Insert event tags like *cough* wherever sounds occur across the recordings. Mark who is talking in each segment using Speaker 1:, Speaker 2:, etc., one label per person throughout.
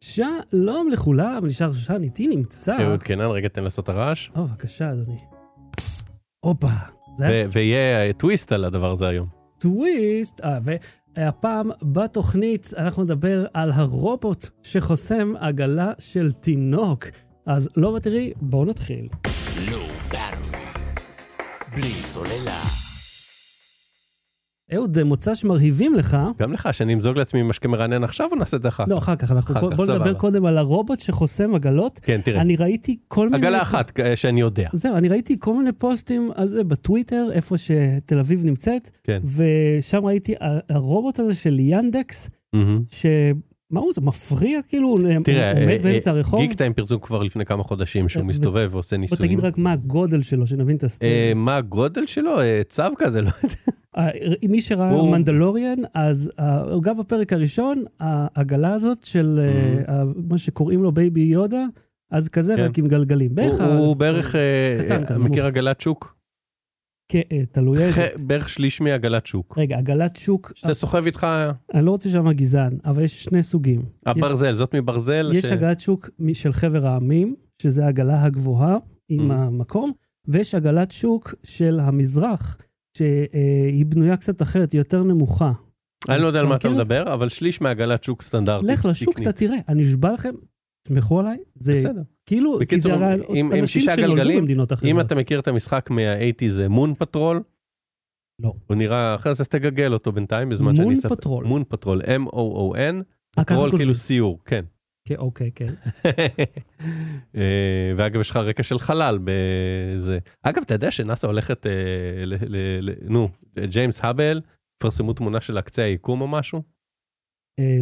Speaker 1: שלום לכולם, נשאר שושן, איתי נמצא.
Speaker 2: אהוד קינן, רגע תן לעשות את הרעש.
Speaker 1: או, בבקשה, אדוני. הופה, זה היה
Speaker 2: ו- ויהיה טוויסט על הדבר הזה היום.
Speaker 1: טוויסט. אה, והפעם בתוכנית אנחנו נדבר על הרובוט שחוסם עגלה של תינוק. אז לא ותראי, בואו נתחיל.
Speaker 3: לואו באטרי. לא בלי סוללה.
Speaker 1: אהוד, מוצ"ש מרהיבים לך.
Speaker 2: גם לך, שאני אמזוג לעצמי משקה מרענן עכשיו או נעשה את זה אחר כך?
Speaker 1: לא, אחר כך, אנחנו...
Speaker 2: אחר
Speaker 1: קו-
Speaker 2: כך,
Speaker 1: בואו נדבר
Speaker 2: סבבה.
Speaker 1: קודם על הרובוט שחוסם עגלות.
Speaker 2: כן, תראה.
Speaker 1: אני ראיתי כל מיני...
Speaker 2: עגלה אחת אה, שאני יודע.
Speaker 1: זהו, אני ראיתי כל מיני פוסטים על זה בטוויטר, איפה שתל אביב נמצאת,
Speaker 2: כן.
Speaker 1: ושם ראיתי ה- הרובוט הזה של ינדקס,
Speaker 2: מהמם.
Speaker 1: ש... מה הוא, זה מפריע כאילו, הוא
Speaker 2: תראה, אה,
Speaker 1: עומד באמצע הרחוב?
Speaker 2: גיק טיים פרסום כבר לפני כמה חודשים שהוא
Speaker 1: אה,
Speaker 2: מסתובב ועושה
Speaker 1: בוא
Speaker 2: ניסויים.
Speaker 1: תגיד רק מה הגודל שלו, שנבין את
Speaker 2: אה,
Speaker 1: הסטייל.
Speaker 2: מה הגודל שלו? אה, צו כזה, לא יודע.
Speaker 1: אה, מי שראה
Speaker 2: הוא-
Speaker 1: מנדלוריאן, אז אה, גם בפרק הראשון, העגלה הזאת של אה, ה- מה שקוראים לו בייבי יודה, אז כזה,
Speaker 2: Mm-hmm. כן.
Speaker 1: רק עם גלגלים. בערך,
Speaker 2: הוא-
Speaker 1: ה-
Speaker 2: הוא בערך, אה,
Speaker 1: קטן
Speaker 2: אה,
Speaker 1: כזה, נמוך.
Speaker 2: מכיר עגלת שוק?
Speaker 1: כן, אה, תלוי איזה. אה,
Speaker 2: ח- בערך שליש מעגלת שוק.
Speaker 1: רגע, עגלת שוק,
Speaker 2: שאתה סוחב איתך
Speaker 1: אני לא רוצה שם גזען, אבל יש שני סוגים.
Speaker 2: הברזל, זאת מברזל.
Speaker 1: יש
Speaker 2: ש-
Speaker 1: עגלת שוק מ- של חבר העמים, שזה העגלה הגבוהה עם
Speaker 2: Mm.
Speaker 1: המקום, ויש עגלת שוק של המזרח, שהיא בנויה קצת אחרת, היא יותר נמוכה.
Speaker 2: אני לא יודע על מה אתה
Speaker 1: מכיר את זה?
Speaker 2: מדבר, אבל שליש מעגלת שוק סטנדרטית.
Speaker 1: כן, לך לשוק,
Speaker 2: תקנית.
Speaker 1: אתה תראה, אני נשבע לכם, תסמכו עליי, זה
Speaker 2: בסדר.
Speaker 1: כאילו, כי
Speaker 2: בקיצור,
Speaker 1: זה הרי
Speaker 2: עם- עם
Speaker 1: אנשים
Speaker 2: שישה
Speaker 1: שנולדו
Speaker 2: גלגלים,
Speaker 1: במדינות
Speaker 2: אם
Speaker 1: אחרות.
Speaker 2: אתה מכיר את המשחק מה-80 זה מון פטרול?
Speaker 1: לא.
Speaker 2: הוא נראה אחר, אז תגגל אותו בינתיים בזמן שאני...
Speaker 1: מון
Speaker 2: אספר-
Speaker 1: פטרול.
Speaker 2: מון פטרול, M-O-O-N,
Speaker 1: אה, ככה
Speaker 2: פטרול
Speaker 1: כותבים.
Speaker 2: כאילו סיור, כן. *laughs*
Speaker 1: כן, אוקיי, כן.
Speaker 2: אה, ואגב, יש לך רקע של חלל בזה. אגב, אתה יודע שנאסא הולכת, אה, ל- ל- ל- נו, ג'יימס האבל, פרסמו תמונה של הקצה היקום או משהו?
Speaker 1: אה,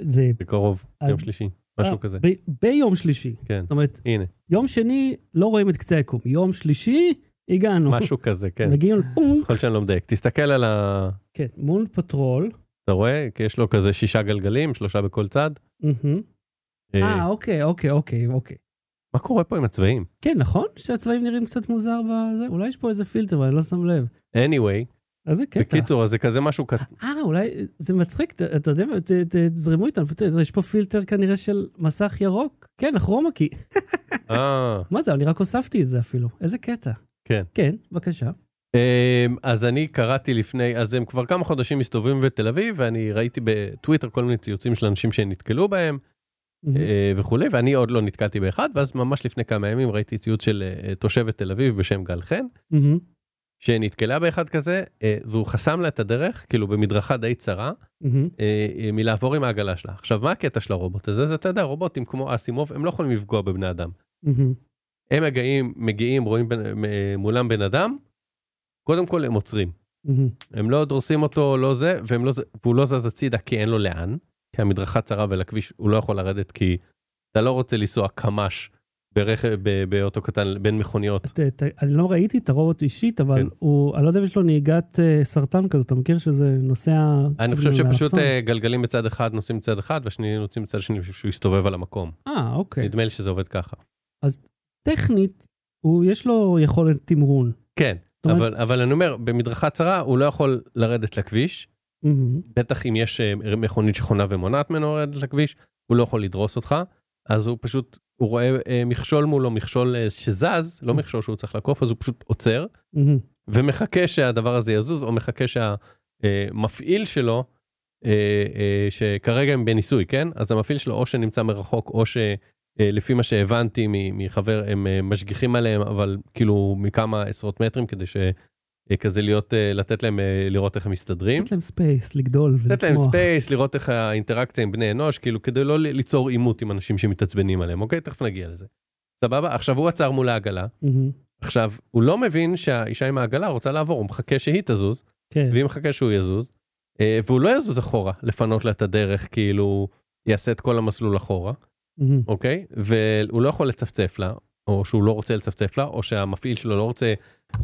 Speaker 1: זה...
Speaker 2: בקרוב,
Speaker 1: אה,
Speaker 2: יום שלישי, משהו
Speaker 1: אה,
Speaker 2: כזה,
Speaker 1: ב- ביום שלישי.
Speaker 2: כן.
Speaker 1: זאת אומרת,
Speaker 2: הנה,
Speaker 1: יום שני לא רואים את קצה היקום, יום שלישי הגענו.
Speaker 2: משהו כזה, כן.
Speaker 1: מגיעים לפונק,
Speaker 2: יכול להיות שאני לא מדייק. תסתכל על ה...
Speaker 1: כן, מון פטרול.
Speaker 2: אתה רואה? כי יש לו כזה שישה גלגלים, שלושה בכל צד.
Speaker 1: מהמם.
Speaker 2: אה,
Speaker 1: אה, אוקיי, אוקיי, אוקיי, אוקיי.
Speaker 2: מה קורה פה עם הצבעים?
Speaker 1: כן, נכון שהצבעים נראים קצת מוזר בזה? אולי יש פה איזה פילטר, אבל אני לא שם לב.
Speaker 2: anyway,
Speaker 1: אז זה קטע.
Speaker 2: בקיצור, אז זה כזה משהו כזה,
Speaker 1: *laughs* אה, אולי זה מצחיק, ת- אתה יודע מה, ת- ת- תזרמו איתנו, פתאום, יש פה פילטר כנראה של מסך ירוק. כן, הכרומה כי...
Speaker 2: אה,
Speaker 1: מה זה, אני רק הוספתי את זה אפילו. איזה קטע.
Speaker 2: כן.
Speaker 1: כן, בבקשה.
Speaker 2: אמ, אז אני קראתי לפני, אז הם כבר כמה חודשים מסתובבים בתל אביב, ואני ראיתי בטוויטר כל מיני ציוצים של אנשים שנתקלו בהם
Speaker 1: Mm-hmm.
Speaker 2: אה, וכולי, ואני עוד לא נתקלתי באחד, ואז ממש לפני כמה ימים ראיתי ציוץ של אה, תושבת תל אביב בשם גל חן,
Speaker 1: מהמם,
Speaker 2: שנתקלה באחד כזה, אה, והוא חסם לה את הדרך, כאילו במדרכה די צרה,
Speaker 1: מהמם.
Speaker 2: אה, אה, מלעבור עם העגלה שלה. עכשיו, מה הקטע של הרובוט הזה? זה, אתה יודע, רובוטים כמו אסימוב, הם לא יכולים לפגוע בבני אדם.
Speaker 1: מהמם.
Speaker 2: הם מגיעים, מגיעים, רואים בן, מ- מולם בן אדם, קודם כל הם עוצרים.
Speaker 1: מהמם.
Speaker 2: הם לא דורסים אותו, לא זה, והם לא, ז- והוא לא זז הצידה כי אין לו לאן, כי המדרכה צרה ולכביש הוא לא יכול לרדת כי אתה לא רוצה לנסוע קמ"ש ברכב, ב- באוטו קטן בין מכוניות.
Speaker 1: ת- ת- אני לא ראיתי את הרובוט אישית, אבל
Speaker 2: כן.
Speaker 1: הוא, אני לא יודע אם יש לו נהיגת אה, סרטן כזאת, אתה מכיר שזה נוסע... כאילו
Speaker 2: אני חושב שפשוט
Speaker 1: לאלכסון?
Speaker 2: אה, גלגלים בצד אחד נוסעים בצד אחד, והשני נוסעים בצד השני שהוא יסתובב על המקום.
Speaker 1: אה, אוקיי.
Speaker 2: נדמה לי שזה עובד ככה.
Speaker 1: טכנית, הוא, יש לו יכולת תמרון.
Speaker 2: כן,
Speaker 1: אומרת-
Speaker 2: אבל, אבל אני אומר, במדרכה צרה הוא לא יכול לרדת לכביש,
Speaker 1: מהמם.
Speaker 2: בטח אם יש אה, מכונית שחונה ומונעת ממנו לרדת לכביש, הוא לא יכול לדרוס אותך, אז הוא פשוט, הוא רואה אה, מכשול מולו, מכשול אה, שזז, לא מכשול שהוא צריך לעקוף, אז הוא פשוט עוצר,
Speaker 1: מהמם.
Speaker 2: ומחכה שהדבר הזה יזוז, או מחכה שהמפעיל שלו, אה, אה, שכרגע הם בניסוי, כן? אז המפעיל שלו או שנמצא מרחוק, או שלפי מה שהבנתי מ- מחבר, הם אה, משגיחים עליהם, אבל כאילו מכמה עשרות מטרים, כדי ש... אה, כזה להיות, אה, לתת להם אה, לראות איך הם מסתדרים.
Speaker 1: לתת להם ספייס, לגדול ולצמוח.
Speaker 2: לתת להם ספייס, לראות איך האינטראקציה עם בני אנוש, כאילו כדי לא ל- ליצור עימות עם אנשים שמתעצבנים עליהם, אוקיי? תכף נגיע לזה. סבבה? עכשיו הוא עצר מול העגלה,
Speaker 1: מהמם.
Speaker 2: עכשיו הוא לא מבין שהאישה עם העגלה רוצה לעבור, הוא מחכה שהיא תזוז,
Speaker 1: כן.
Speaker 2: והיא מחכה שהוא יזוז, אה, והוא לא יזוז אחורה, לפנות לה את הדרך, כאילו יעשה את כל המסלול אחורה,
Speaker 1: מהמם.
Speaker 2: אוקיי? והוא לא יכול לצפצף לה, או שהוא לא רוצה לצפצף לה, או שהמפעיל שלו לא רוצה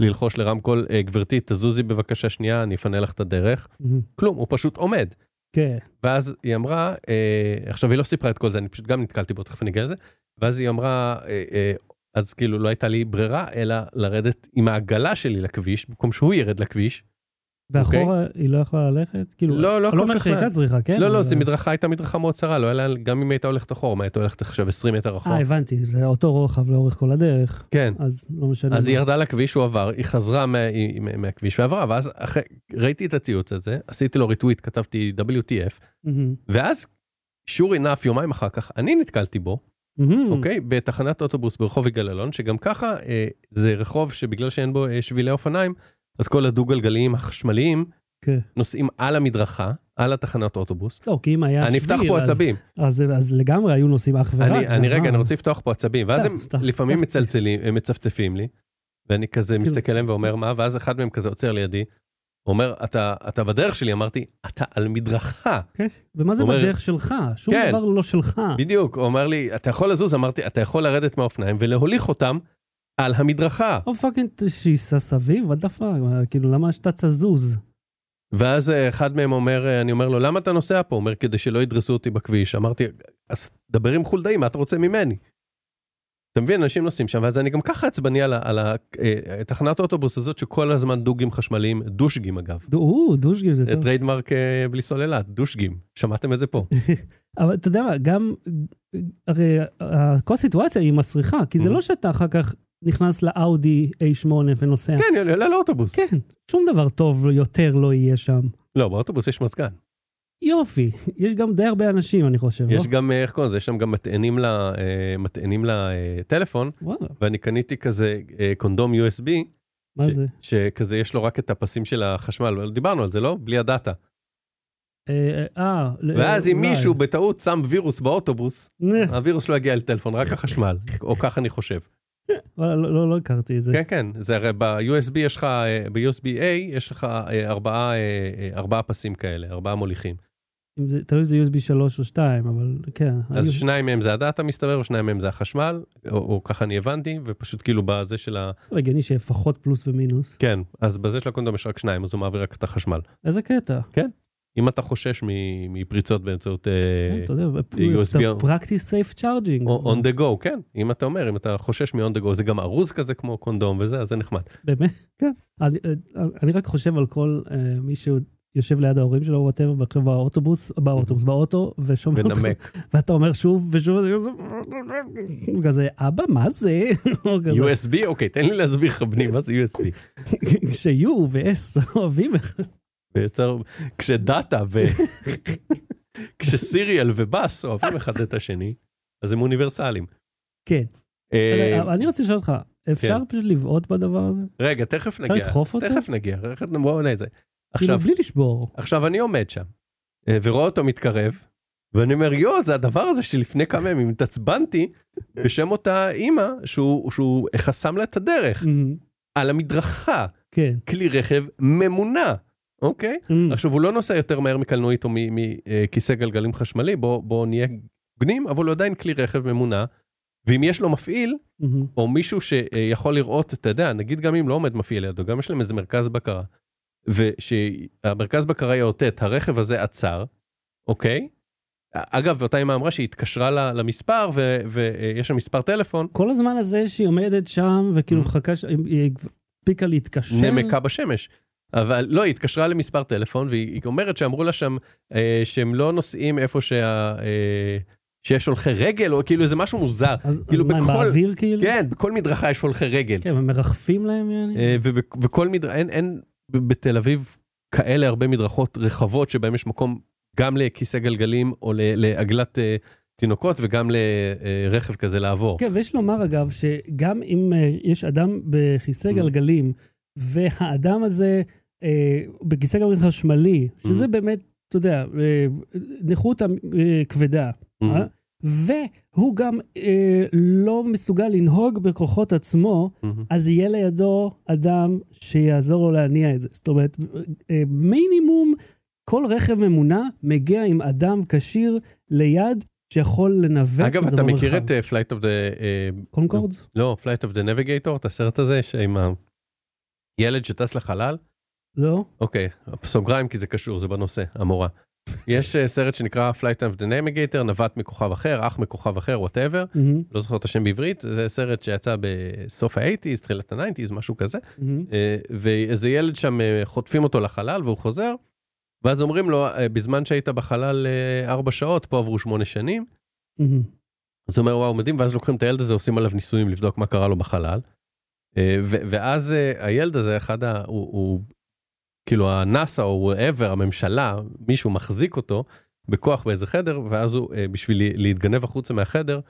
Speaker 2: ללחוש לרמקול, "אה, גברתי, תזוזי בבקשה שנייה, אני אפנה לך את הדרך.
Speaker 1: מהמם.
Speaker 2: כלום, הוא פשוט עומד.
Speaker 1: כן.
Speaker 2: ואז היא אמרה, אה, עכשיו היא לא סיפרה את כל זה, אני פשוט גם נתקלתי בו, תכף אני אגיע לזה, ואז היא אמרה, אה, אה, אז כאילו לא הייתה לי ברירה, אלא לרדת עם העגלה שלי לכביש, במקום שהוא ירד לכביש,
Speaker 1: ואחורה היא לא יכלה ללכת? כאילו,
Speaker 2: לא, לא
Speaker 1: אני
Speaker 2: כל
Speaker 1: לא אומר
Speaker 2: כך
Speaker 1: שהייתה
Speaker 2: מה.
Speaker 1: צריכה, כן?
Speaker 2: לא, לא,
Speaker 1: אבל-
Speaker 2: זו מדרכה הייתה מדרכה מאוד צרה, לא היה לה, גם אם הייתה הולכת אחורה, מה הייתה הולכת עכשיו 20 מטר אחורה.
Speaker 1: אה, הבנתי, זה אותו רוחב לאורך כל הדרך,
Speaker 2: כן.
Speaker 1: אז לא משנה.
Speaker 2: אז
Speaker 1: מה.
Speaker 2: היא ירדה לכביש, הוא עבר, היא חזרה מה, היא- מה- מהכביש ועברה, ואז אחרי, ראיתי את הציוץ הזה, עשיתי לו ריטוויט, כתבתי WTF,
Speaker 1: מהמם.
Speaker 2: ואז, sure enough, יומיים אחר כך, אני נתקלתי בו,
Speaker 1: מהמם.
Speaker 2: אוקיי? בתחנת אוטובוס ברחוב יגאל אלון, שגם ככה אה, זה רחוב שבגלל שאין בו אה, שבילי אופניים, אז כל הדו-גלגליים החשמליים
Speaker 1: כן.
Speaker 2: נוסעים על המדרכה, על התחנת אוטובוס.
Speaker 1: לא, כי אם היה שביל,
Speaker 2: נפתח פה
Speaker 1: אז-
Speaker 2: עצבים.
Speaker 1: אז אז לגמרי היו נוסעים אך ורק.
Speaker 2: אני, אני
Speaker 1: שם,
Speaker 2: רגע,
Speaker 1: אה.
Speaker 2: אני רוצה לפתוח פה עצבים, ואז
Speaker 1: סתם,
Speaker 2: הם
Speaker 1: סתם,
Speaker 2: לפעמים
Speaker 1: סתם. כאילו-
Speaker 2: מצלצלים, הם מצפצפים לי, ואני כזה מסתכל עליהם ואומר מה, ואז אחד מהם כזה עוצר לידי, אומר, אתה, אתה בדרך שלי, אמרתי, אתה על מדרכה.
Speaker 1: ומה זה
Speaker 2: אומר-
Speaker 1: בדרך שלך? שום
Speaker 2: כן.
Speaker 1: דבר לא שלך.
Speaker 2: בדיוק, הוא אמר לי, אתה יכול לזוז, אמרתי, אתה יכול לרדת מהאופניים ולהוליך אותם על המדרכה.
Speaker 1: או פאקינג שייסע סביב, what the fuck, כאילו למה שאתה תזוז?
Speaker 2: ואז אה, אחד מהם אומר, אה, אני אומר לו, למה אתה נוסע פה? הוא אומר, כדי שלא ידרסו אותי בכביש. אמרתי, אז דבר עם חולדאי, מה אתה רוצה ממני? אתה מבין, אנשים נוסעים שם, ואז אני גם ככה עצבני על, ה- על ה- אה, תחנת האוטובוס הזאת, שכל הזמן דוגים חשמליים, דושגים אגב.
Speaker 1: דו- או, דושגים זה
Speaker 2: זה
Speaker 1: טוב.
Speaker 2: טריידמרק אה, בלי סוללה, דושגים. שמעתם את זה
Speaker 1: כן.
Speaker 2: פה.
Speaker 1: אבל אתה יודע מה, גם, הרי אה, כל סיטואציה היא מסריחה, כי זה
Speaker 2: Mhm.
Speaker 1: לא שאתה אחר כך נכנס לאאודי A8 ונוסע.
Speaker 2: כן, אני עולה לאוטובוס.
Speaker 1: כן, שום דבר טוב יותר לא יהיה שם.
Speaker 2: לא, באוטובוס יש מזגן.
Speaker 1: יופי, יש גם די הרבה אנשים, אני חושב, לא?
Speaker 2: יש גם, אה, איך קוראים לזה? יש שם גם מטענים ל- אה, מטענים לטלפון,
Speaker 1: וואלה,
Speaker 2: ואני קניתי כזה אה, קונדום USB.
Speaker 1: מה
Speaker 2: ש-
Speaker 1: זה?
Speaker 2: שכזה יש לו רק את הפסים של החשמל, אבל דיברנו על זה, לא? בלי הדאטה.
Speaker 1: אה, אה, לא,
Speaker 2: ואז אם
Speaker 1: אולי.
Speaker 2: מישהו בטעות שם וירוס באוטובוס,
Speaker 1: נה,
Speaker 2: הווירוס לא יגיע לטלפון, רק החשמל, או כך אני חושב.
Speaker 1: וואלה, לא לא- לא הכרתי את זה.
Speaker 2: כן, כן, זה הרי ב-USB יש לך, אה, ב-USB-A יש לך אה, ארבעה, אה, אה, ארבעה פסים כאלה, ארבעה מוליכים.
Speaker 1: אם זה- תלוי אם זה USB 3 או 2, אבל כן.
Speaker 2: אז
Speaker 1: אני-
Speaker 2: שניים מהם זה הדאטה מסתבר, ושניים מהם זה החשמל, או- או ככה אני הבנתי, ופשוט כאילו בזה של ה...
Speaker 1: לא הגיוני שלפחות פלוס ומינוס.
Speaker 2: כן, אז בזה של הקונדום יש רק שניים, אז הוא מעביר רק את החשמל.
Speaker 1: איזה קטע.
Speaker 2: אה, אם אתה חושש מ- מפריצות באמצעות... אה,
Speaker 1: אתה יודע,
Speaker 2: USB.
Speaker 1: אתה practice safe charging.
Speaker 2: או on the go, כן. אם אתה אומר, אם אתה חושש מ-on the go, זה גם ארוז כזה כמו קונדום וזה, אז זה נחמד.
Speaker 1: באמת?
Speaker 2: כן.
Speaker 1: אני, אה, אני רק חושב על כל אה, מי שיושב ליד ההורים שלו, וואטאבר, ועכשיו באוטובוס, באוטובוס, באוטו, ושומע אותך,
Speaker 2: ונמק.
Speaker 1: *laughs* ואתה אומר שוב ושוב, וכזה, הוא כזה, אבא, מה זה? *laughs* הוא כזה,
Speaker 2: USB, אוקיי, תן לי להסביר לך, בני, מה זה
Speaker 1: *laughs*
Speaker 2: USB?
Speaker 1: ש-U ו-S אוהבים אחד.
Speaker 2: ויוצר- כשדאטה ו...
Speaker 1: *laughs*
Speaker 2: כשסיריאל ובאס אוהבים אחד את השני, אז הם אוניברסליים.
Speaker 1: כן.
Speaker 2: אה,
Speaker 1: אבל אני רוצה לשאול אותך, אפשר פשוט לבעוט בדבר הזה?
Speaker 2: רגע, תכף
Speaker 1: אפשר
Speaker 2: נגיע.
Speaker 1: לדחוף אותו?
Speaker 2: תכף נגיע, רגע, בואו נעשה.
Speaker 1: כאילו,
Speaker 2: עכשיו,
Speaker 1: בלי לשבור.
Speaker 2: עכשיו אני עומד שם, אה, ורואה אותו מתקרב, ואני אומר, יואו, זה הדבר הזה שלפני כמה ימים התעצבנתי בשם אותה אימא שהוא, שהוא חסם לה את הדרך,
Speaker 1: מהמם.
Speaker 2: על המדרכה,
Speaker 1: כן.
Speaker 2: כלי רכב ממונע, אוקיי?
Speaker 1: מהמם.
Speaker 2: עכשיו, הוא לא נוסע יותר מהר מקלנועית או מכיסא גלגלים חשמלי, בואו בוא נהיה הוגנים, אבל הוא עדיין כלי רכב ממונע, ואם יש לו מפעיל,
Speaker 1: מהמם.
Speaker 2: או מישהו שיכול לראות, אתה יודע, נגיד גם אם לא עומד מפעיל לידו, גם יש להם איזה מרכז בקרה. ושהמרכז בקרה יאותת, הרכב הזה עצר, אוקיי? אגב, אותה אמא אמרה שהיא התקשרה ל- למספר, ויש שם מספר טלפון,
Speaker 1: כל הזמן הזה שהיא עומדת שם, וכאילו
Speaker 2: Mhm.
Speaker 1: מחכה, ש- היא הספיקה להתקשר.
Speaker 2: נמקה בשמש. אבל לא, היא התקשרה למספר טלפון, והיא היא אומרת שאמרו לה שם אה, שהם לא נוסעים איפה שה... אה, שיש הולכי רגל, או כאילו איזה משהו מוזר.
Speaker 1: אז,
Speaker 2: כאילו
Speaker 1: אז מה, הם
Speaker 2: בכל-
Speaker 1: באוויר כאילו?
Speaker 2: כן, בכל מדרכה יש הולכי רגל.
Speaker 1: כן, הם מרחפים להם, יעני?
Speaker 2: אה, ו- ו- וכל מדרכה, אין, אין ב- בתל אביב כאלה הרבה מדרכות רחבות שבהן יש מקום גם לכיסא גלגלים או ל- לעגלת אה, תינוקות וגם לרכב כזה לעבור.
Speaker 1: כן, ויש לומר אגב, שגם אם אה, יש אדם בכיסא
Speaker 2: Mhm.
Speaker 1: גלגלים, והאדם הזה אה, בכיסא גלגלים חשמלי, שזה
Speaker 2: Mhm.
Speaker 1: באמת, אתה יודע, אה, נכות אה, כבדה, אה? והוא גם אה, לא מסוגל לנהוג בכוחות עצמו,
Speaker 2: מהמם.
Speaker 1: אז יהיה לידו אדם שיעזור לו להניע את זה. זאת אומרת, אה, מינימום, כל רכב ממונע מגיע עם אדם כשיר ליד שיכול לנווט
Speaker 2: אגב,
Speaker 1: את זה לא
Speaker 2: אתה
Speaker 1: במרחב.
Speaker 2: מכיר את אה, פלייט אוף דה
Speaker 1: קונקורדס?
Speaker 2: לא, Flight of the Navigator, את הסרט הזה עם הילד שטס לחלל?
Speaker 1: לא?
Speaker 2: אוקיי, סוגריים כי זה קשור, זה בנושא, המורה. יש אה, סרט שנקרא Flight of the Navigator, נווט מכוכב אחר, אח מכוכב אחר, וואטאבר,
Speaker 1: מהמם,
Speaker 2: לא זוכר את השם בעברית, זה סרט שיצא בסוף ה-80's, תחילת ה-90's, משהו כזה.
Speaker 1: מהמם.
Speaker 2: אה, ואיזה ילד שם אה, חוטפים אותו לחלל והוא חוזר, ואז אומרים לו, אה, בזמן שהיית בחלל אה, ארבע שעות, פה עברו שמונה שנים.
Speaker 1: מהמם.
Speaker 2: אז הוא אומר, וואו, מדהים, ואז לוקחים את הילד הזה, עושים עליו ניסויים לבדוק מה קרה לו בחלל. אה, ו- ואז אה, הילד הזה, אחד ה... הוא, הוא כאילו הנאסא או וואבר, הממשלה, מישהו מחזיק אותו בכוח באיזה חדר, ואז הוא, אה, בשביל לה- להתגנב החוצה מהחדר,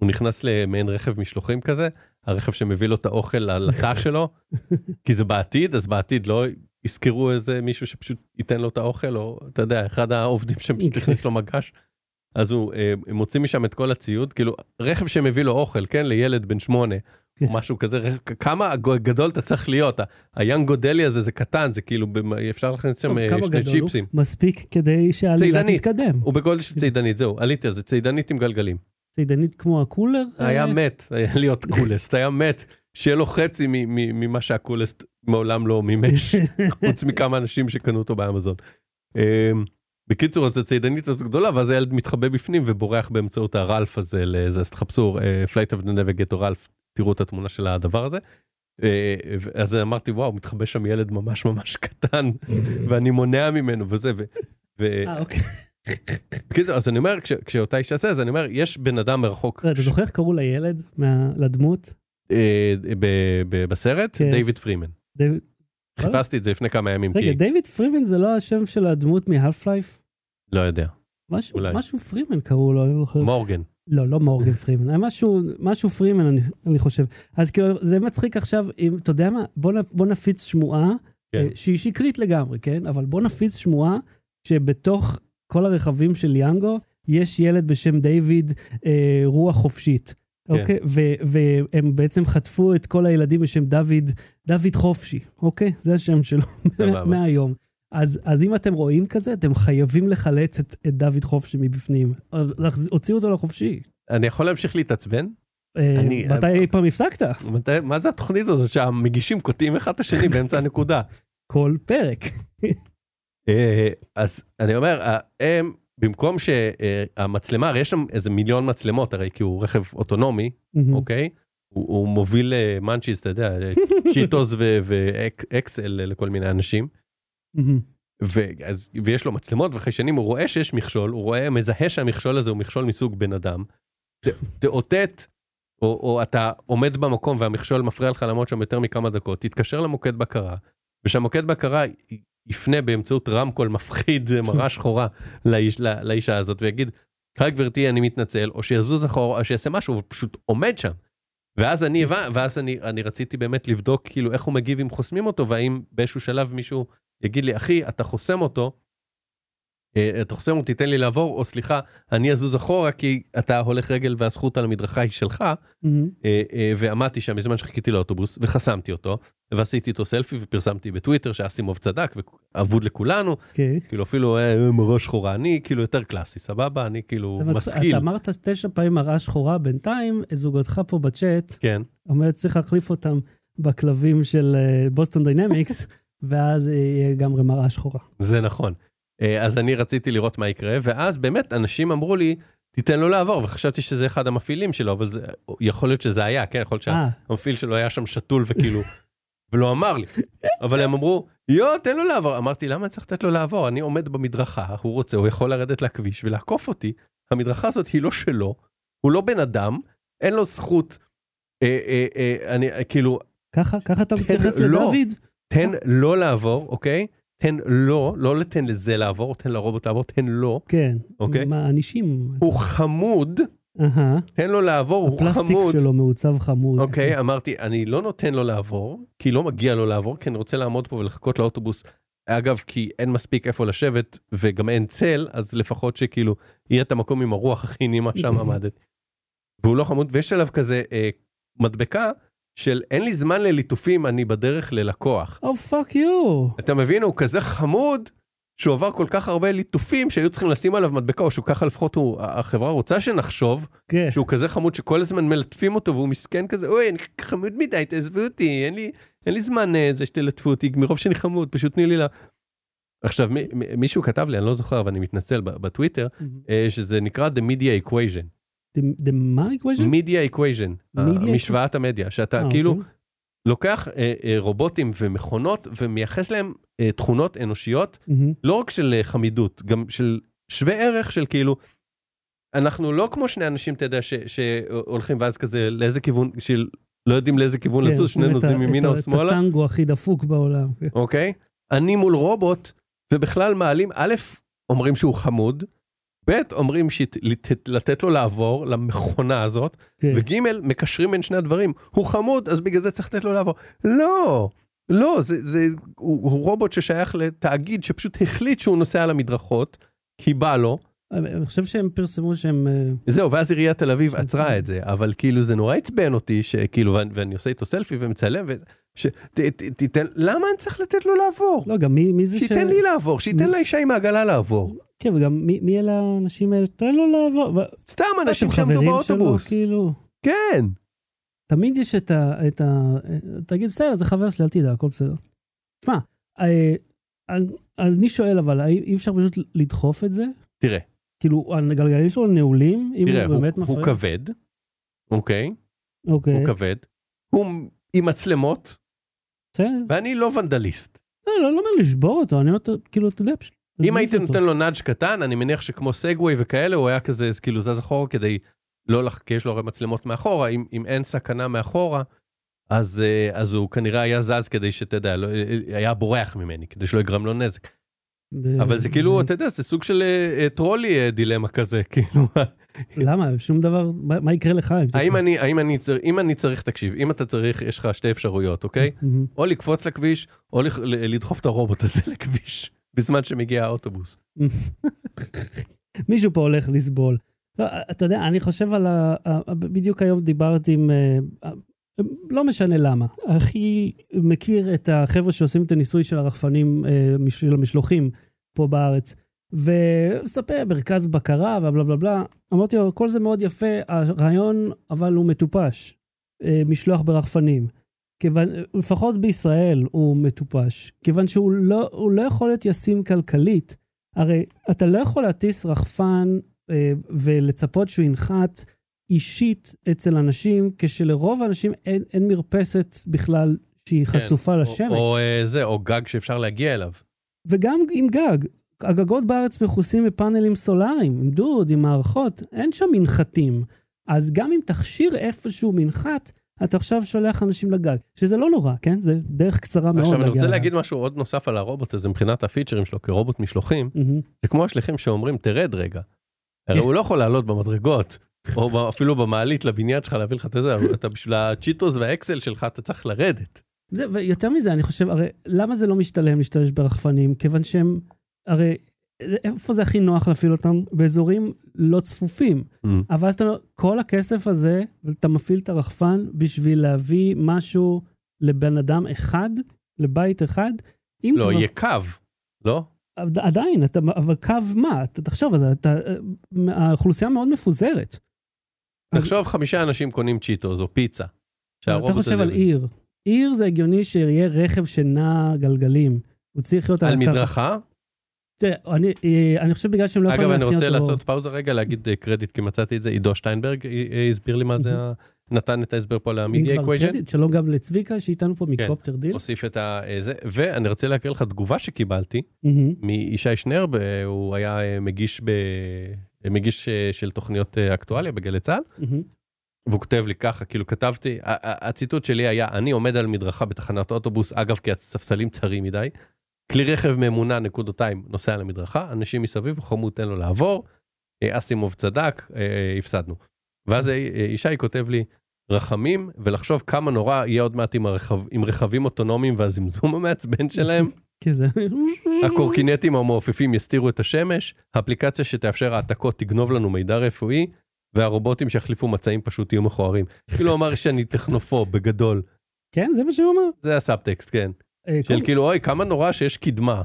Speaker 2: הוא נכנס למעין רכב משלוחים כזה, הרכב שמביא לו את האוכל לתא שלו, כי זה בעתיד, אז בעתיד לא יזכרו איזה מישהו שפשוט ייתן לו את האוכל, או אתה יודע, אחד העובדים שפשוט הכניס לו מגש. אז הוא אה, הם מוציא משם את כל הציוד, כאילו, רכב שמביא לו אוכל, כן, לילד בן שמונה, או
Speaker 1: כן.
Speaker 2: משהו כזה, רכב- כמה גו- גדול אתה צריך להיות, ה- היאנג גודלי הזה זה קטן, זה כאילו, במ- אפשר להכניס שם
Speaker 1: טוב,
Speaker 2: אה,
Speaker 1: כמה
Speaker 2: שני
Speaker 1: גדול הוא? כן.
Speaker 2: צ'יפסים.
Speaker 1: מספיק כדי שהעלילה
Speaker 2: צידנית.
Speaker 1: תתקדם.
Speaker 2: הוא בגודל של צידנית, זהו, עליתי על זה, צידנית עם גלגלים.
Speaker 1: צידנית כמו הקולר?
Speaker 2: היה
Speaker 1: אה,
Speaker 2: מת, היה להיות קולסט, היה מת, שיהיה לו חצי מ- מ- ממה שהקולסט מעולם
Speaker 1: *laughs*
Speaker 2: לא מימש, חוץ מכמה אנשים שקנו אותו באמזון. אמ, בקיצור, אז הצידנית הזאת גדולה, ואז הילד מתחבא בפנים ובורח באמצעות הרלף הזה לאיזה, אז תחפשו, אה, Flight of the Navigator רלף, תראו את התמונה של הדבר הזה. אה, ו- אז אמרתי, וואו, מתחבא שם ילד ממש ממש
Speaker 1: *laughs*
Speaker 2: קטן, ואני מונע ממנו וזה, ו... ו-
Speaker 1: אה, אוקיי. *laughs*
Speaker 2: בקיצור, אז אני אומר, כש- כשאותה אישה זה, אז אני אומר, יש בן אדם מרחוק
Speaker 1: אתה זוכר איך קראו לילד? מה- לדמות?
Speaker 2: אה, ב- ב- בסרט,
Speaker 1: כן.
Speaker 2: דייוויד פרימן.
Speaker 1: דיוויד-
Speaker 2: חיפשתי את זה לפני כמה ימים,
Speaker 1: רגע,
Speaker 2: כי
Speaker 1: דיוויד פרימן זה לא השם של הדמות מהאלף לייף?
Speaker 2: לא יודע.
Speaker 1: אה. משהו,
Speaker 2: אולי.
Speaker 1: משהו פרימן קראו לו, אני לא זוכר.
Speaker 2: מורגן.
Speaker 1: לא, לא מורגן פרימן, היה משהו, משהו פרימן, אני, אני חושב. אז כאילו, זה מצחיק עכשיו, אם, אתה יודע מה, בוא, נ- בוא נפיץ שמועה,
Speaker 2: כן.
Speaker 1: אה, שהיא שקרית לגמרי, כן? אבל בוא נפיץ שמועה שבתוך כל הרכבים של יאנגו, יש ילד בשם דיוויד אה, רוח חופשית.
Speaker 2: כן.
Speaker 1: אוקיי? ו- והם בעצם חטפו את כל הילדים בשם דוד, דוד חופשי, אוקיי? זה השם שלו
Speaker 2: סבבה.
Speaker 1: מהיום. אז, אז אם אתם רואים כזה, אתם חייבים לחלץ את, את דוד חופשי מבפנים. אה, להחז- הוציאו אותו לחופשי.
Speaker 2: אני יכול להמשיך להתעצבן?
Speaker 1: אה,
Speaker 2: אני-
Speaker 1: מתי
Speaker 2: אה,
Speaker 1: אי פעם הפסקת?
Speaker 2: מתי- מה זה התוכנית הזאת שהמגישים קוטעים אחד
Speaker 1: *laughs*
Speaker 2: את השני באמצע הנקודה?
Speaker 1: כל פרק.
Speaker 2: אה, אז אני אומר, אה, הם, במקום שהמצלמה, הרי יש שם איזה מיליון מצלמות, הרי כי הוא רכב אוטונומי,
Speaker 1: Mm.
Speaker 2: אוקיי? הוא הוא מוביל אה, מאנצ'יס, אתה יודע,
Speaker 1: *laughs*
Speaker 2: אה, צ'יטוס ו- ואקסל אה, לכל מיני אנשים.
Speaker 1: מהמם.
Speaker 2: ואז, ויש לו מצלמות וחיישנים, הוא רואה שיש מכשול, הוא רואה, מזהה שהמכשול הזה הוא מכשול מסוג בן אדם. ת- תאותת, או, או אתה עומד במקום והמכשול מפריע לך לעמוד שם יותר מכמה דקות, תתקשר למוקד בקרה, ושהמוקד בקרה י- יפנה באמצעות רמקול מפחיד, אה, מראה שחורה, *laughs* לאיש, לא, לאישה הזאת, ויגיד, היי גברתי, אני מתנצל, או שיזוז אחורה, או שיעשה משהו, הוא פשוט עומד שם. ואז אני הבנ- ואז אני, אני רציתי באמת לבדוק כאילו איך הוא מגיב אם חוסמים אותו, והאם באיזשהו שלב מישהו יגיד לי, אחי, אתה חוסם אותו, אה, אתה חוסם אותו, תיתן לי לעבור, או סליחה, אני אזוז אחורה כי אתה הולך רגל והזכות על המדרכה היא שלך,
Speaker 1: מהמם.
Speaker 2: אה, אה, ועמדתי שם בזמן שחיכיתי לאוטובוס, וחסמתי אותו, ועשיתי איתו סלפי ופרסמתי בטוויטר שאסימוב צדק, ואבוד לכולנו,
Speaker 1: אוקיי.
Speaker 2: כאילו אפילו אה, אה, מראה שחורה, אני כאילו יותר קלאסי, סבבה? אני כאילו
Speaker 1: אתה מצ-
Speaker 2: משכיל,
Speaker 1: אתה אמרת תשע פעמים מראה שחורה, בינתיים זוגתך פה בצ'אט
Speaker 2: כן.
Speaker 1: אומרת צריך להחליף אותם בכלבים של אה, בוסטון דיינמיקס, *laughs* ואז אה, יהיה גם מראה שחורה.
Speaker 2: זה נכון. אה, אז אני רציתי לראות מה יקרה, ואז באמת אנשים אמרו לי, תיתן לו לעבור, וחשבתי שזה אחד המפעילים שלו, אבל זה, יכול להיות שזה היה, כן? יכול להיות
Speaker 1: אה,
Speaker 2: שהמפעיל שלו היה שם שתול וכאילו, ולא אמר לי. אבל הם אמרו, יו, תן לו לעבור. אמרתי, למה אני צריך לתת לו לעבור? אני עומד במדרכה, הוא רוצה, הוא יכול לרדת לכביש ולעקוף אותי. המדרכה הזאת היא לא שלו, הוא לא בן אדם, אין לו זכות. אה, אה, אה, אני, אה, כאילו,
Speaker 1: ככה, ככה אתה מתייחס
Speaker 2: לא.
Speaker 1: לדוד?
Speaker 2: תן לו לעבור, אוקיי? תן לו, לא לתן לזה לעבור, תן לרובוט לעבור, תן לו.
Speaker 1: כן.
Speaker 2: אוקיי.
Speaker 1: מענישים.
Speaker 2: הוא חמוד,
Speaker 1: אהה.
Speaker 2: תן לו לעבור, הוא
Speaker 1: הפלסטיק
Speaker 2: חמוד.
Speaker 1: שלו מעוצב חמוד.
Speaker 2: אוקיי, אמרתי, אני לא נותן לו לעבור, כי לא מגיע לו לעבור, כי אני רוצה לעמוד פה ולחכות לאוטובוס. אגב, כי אין מספיק איפה לשבת, וגם אין צל, אז לפחות שכאילו, יהיה את המקום עם הרוח הכי נעימה שם עמדת. והוא לא חמוד, ויש עליו כזה אה, מדבקה של אין לי זמן לליטופים, אני בדרך ללקוח.
Speaker 1: או פאק יו.
Speaker 2: אתה מבין, הוא כזה חמוד, שהוא עבר כל כך הרבה ליטופים שהיו צריכים לשים עליו מדבקה, או שהוא ככה לפחות הוא, החברה רוצה שנחשוב,
Speaker 1: כן.
Speaker 2: שהוא כזה חמוד שכל הזמן מלטפים אותו, והוא מסכן כזה, אוי, אני חמוד מדי, תעזבו אותי, אין לי, אין לי זמן אה, זה שתלטפו אותי, מרוב שאני חמוד, פשוט תני לי ל... עכשיו, מי- מי- מישהו כתב לי, אני לא זוכר, אבל אני מתנצל ב- בטוויטר, אה, שזה נקרא The Media Equation.
Speaker 1: The- The מה equation?
Speaker 2: Media Equation,
Speaker 1: Media
Speaker 2: משוואת המדיה, שאתה
Speaker 1: אה,
Speaker 2: כאילו
Speaker 1: אוקיי.
Speaker 2: לוקח אה, אה, רובוטים ומכונות ומייחס להם אה, תכונות אנושיות,
Speaker 1: מהמם.
Speaker 2: לא רק של אה, חמידות, גם של שווה ערך של כאילו, אנחנו לא כמו שני אנשים, אתה יודע, ש- שהולכים ואז כזה לאיזה כיוון, שלא יודעים לאיזה כיוון
Speaker 1: כן,
Speaker 2: לזוז,
Speaker 1: עושים את
Speaker 2: שנינו
Speaker 1: ה-
Speaker 2: זוזים
Speaker 1: את
Speaker 2: ימינה
Speaker 1: ה-
Speaker 2: או
Speaker 1: את
Speaker 2: שמאלה,
Speaker 1: הטנגו הכי דפוק בעולם. כן.
Speaker 2: אוקיי? אני מול רובוט, ובכלל מעלים, א', אומרים שהוא חמוד, ב', אומרים שלתת לו לעבור למכונה הזאת,
Speaker 1: כן.
Speaker 2: וג' מקשרים בין שני הדברים, הוא חמוד אז בגלל זה צריך לתת לו לעבור. לא, לא, זה, זה, הוא, הוא רובוט ששייך לתאגיד שפשוט החליט שהוא נוסע על המדרכות, כי בא לו,
Speaker 1: אה, אני אני חושב שהם פרסמו שהם... אה,
Speaker 2: זהו, ואז עיריית תל אביב עצרה את זה, אבל כאילו זה נורא עצבן אותי, שכאילו, ואני, ואני עושה איתו סלפי ומצלם, ו... ש... ת, ת, תיתן, למה אני צריך לתת לו לעבור?
Speaker 1: לא, גם מי מי זה ש...
Speaker 2: שייתן לי לעבור, שייתן לאישה עם העגלה לעבור.
Speaker 1: כן, וגם מי- מי אלה האנשים האלה? תן לו לעבור. ו-
Speaker 2: סתם אנשים
Speaker 1: אתם
Speaker 2: שעמדו
Speaker 1: חברים
Speaker 2: באוטובוס.
Speaker 1: שלו, כאילו...
Speaker 2: כן.
Speaker 1: תמיד יש את ה... את ה... תגיד, בסדר, זה חבר שלי, אל תדאג, הכל בסדר. תשמע, אה, אני- אני שואל, אבל האם אי אפשר פשוט לדחוף את זה?
Speaker 2: תראה,
Speaker 1: כאילו, הגלגלים שלו נעולים, אם
Speaker 2: תראה,
Speaker 1: הוא
Speaker 2: הוא,
Speaker 1: באמת מפריע?
Speaker 2: הוא כבד, אוקיי?
Speaker 1: אוקיי,
Speaker 2: הוא כבד, הוא עם מצלמות,
Speaker 1: בסדר.
Speaker 2: ואני לא ונדליסט.
Speaker 1: לא, לא לא אומר לשבור אותו, אני אומר, ת- כאילו, אתה יודע, פשוט...
Speaker 2: אם
Speaker 1: תזיז
Speaker 2: הייתי
Speaker 1: אותו.
Speaker 2: נותן לו נאג' קטן, אני מניח שכמו סגווי וכאלה, הוא היה כזה, אז כאילו זז אחורה כדי לא לח... כי יש לו הרי מצלמות מאחורה, אם, אם אין סכנה מאחורה, אז, אה, אז הוא כנראה היה זז כדי שאתה יודע, לא, היה בורח ממני, כדי שלא יגרם לו נזק.
Speaker 1: ב-
Speaker 2: אבל זה כאילו, אתה יודע, זה סוג של אה, אה, טרולי אה, דילמה כזה, *laughs* כאילו,
Speaker 1: למה? שום דבר, מה מה יקרה לך? אם
Speaker 2: האם
Speaker 1: תדחוף?
Speaker 2: אני, האם אני, צר... אם אני צריך, תקשיב, אם אתה צריך, יש לך שתי אפשרויות, אוקיי?
Speaker 1: מהמם.
Speaker 2: או לקפוץ לכביש, או לח- ל- לדחוף את הרובוט הזה *laughs* לכביש, בזמן שמגיע האוטובוס.
Speaker 1: מישהו פה הולך לסבול. לא, אתה יודע, אני חושב על ה... ה- ה- בדיוק היום דיברתי עם... אה, אה, לא משנה למה. הכי מכיר את החבר'ה שעושים את הניסוי של הרחפנים, אה, מש- של המשלוחים פה בארץ. ומספר, מרכז בקרה ובלה בלה בלה. אמרתי לו, כל זה מאוד יפה, הרעיון, אבל הוא מטופש. אה, משלוח ברחפנים. כיוון, לפחות בישראל הוא מטופש. כיוון שהוא לא, הוא לא יכול להיות ישים כלכלית. הרי אתה לא יכול להטיס רחפן אה, ולצפות שהוא ינחת אישית אצל אנשים, כשלרוב האנשים אין, אין מרפסת בכלל שהיא
Speaker 2: כן,
Speaker 1: חשופה לשמש.
Speaker 2: או, או אה, זה, או גג שאפשר להגיע אליו.
Speaker 1: וגם עם גג. הגגות בארץ מכוסים בפאנלים סולאריים, עם דוד, עם מערכות, אין שם מנחתים. אז גם אם תכשיר איפשהו מנחת, אתה עכשיו שולח אנשים לגג, שזה לא נורא, כן? זה דרך קצרה מאוד
Speaker 2: עכשיו, אני רוצה
Speaker 1: לגג.
Speaker 2: להגיד משהו עוד נוסף על הרובוט הזה, מבחינת הפיצ'רים שלו כרובוט משלוחים,
Speaker 1: מהמם.
Speaker 2: זה כמו השליחים שאומרים, תרד רגע. הרי הוא לא יכול לעלות במדרגות, או ב- אפילו במעלית לבניין שלך להביא לך את זה, אבל אתה בשביל הצ'יטוס והאקסל שלך, אתה צריך לרדת.
Speaker 1: זה, ויותר מזה, אני חושב, הרי למה זה לא משתלם להשתמש ברחפנים? כיוון שהם, הרי איפה זה הכי נוח להפעיל אותם? באזורים לא צפופים.
Speaker 2: Mm.
Speaker 1: אבל אז אתה אומר, כל הכסף הזה, אתה מפעיל את הרחפן בשביל להביא משהו לבן אדם אחד, לבית אחד, אם
Speaker 2: לא,
Speaker 1: כבר...
Speaker 2: יהיה קו, לא?
Speaker 1: עד- עדיין, אתה, אבל קו מה? אתה תחשוב, אז אתה, האוכלוסייה מאוד מפוזרת. אז-
Speaker 2: תחשוב, חמישה אנשים קונים צ'יטוס או פיצה.
Speaker 1: אתה
Speaker 2: שהרובוט
Speaker 1: חושב
Speaker 2: הזה-
Speaker 1: על עיר. עיר זה הגיוני שיהיה רכב שנע גלגלים. הוא צריך להיות
Speaker 2: על
Speaker 1: הקרקע.
Speaker 2: מדרכה?
Speaker 1: תראה, אני, אה, אני חושב בגלל שהם לא יכולים
Speaker 2: אגב, אני
Speaker 1: להסיע אותו.
Speaker 2: רוצה לעשות פאוזה רגע, להגיד אה, קרדיט, כי מצאתי את זה, עידו שטיינברג אה, אה, הסביר לי מה זה, ה- נתן את ההסבר פה
Speaker 1: אם
Speaker 2: למדיה
Speaker 1: כבר
Speaker 2: אקווייז'ן,
Speaker 1: קרדיט, שלום גם לצביקה, שאיתנו
Speaker 2: כן.
Speaker 1: פה מקופטר דיל.
Speaker 2: הוסיף את ה... אה, זה, ואני רוצה להקריא לך תגובה שקיבלתי
Speaker 1: מהמם.
Speaker 2: מישי שנר, ב- הוא היה אה, מגיש ב... אה, מגיש אה, של תוכניות אה, אקטואליה בגלי צה"ל,
Speaker 1: מהמם.
Speaker 2: והוא כותב לי ככה, כאילו כתבתי, ה- ה- הציטוט שלי היה, אני עומד על מדרכה בתחנת אוטובוס, אגב, כי הספסלים צרים מדי, כלי רכב ממונע נקודותיים נוסע על המדרכה, אנשים מסביב, חמוד תן לו לעבור, אה, אסימוב צדק, אה, אה, הפסדנו. ואז אה, אה, ישי כותב לי, רחמים, ולחשוב כמה נורא יהיה עוד מעט עם, הרכב, עם רכבים אוטונומיים והזמזום המעצבן *laughs* שלהם,
Speaker 1: כי
Speaker 2: *laughs*
Speaker 1: זה...
Speaker 2: הקורקינטים המעופפים יסתירו את השמש, האפליקציה שתאפשר העתקות תגנוב לנו מידע רפואי, והרובוטים שיחליפו מצעים פשוט יהיו מכוערים. כאילו הוא אמר שאני טכנופוב בגדול,
Speaker 1: כן, זה מה שהוא אמר.
Speaker 2: זה הסאבטקסט, כן.
Speaker 1: אה,
Speaker 2: של
Speaker 1: קודם-
Speaker 2: כאילו, אוי, כמה נורא שיש קדמה.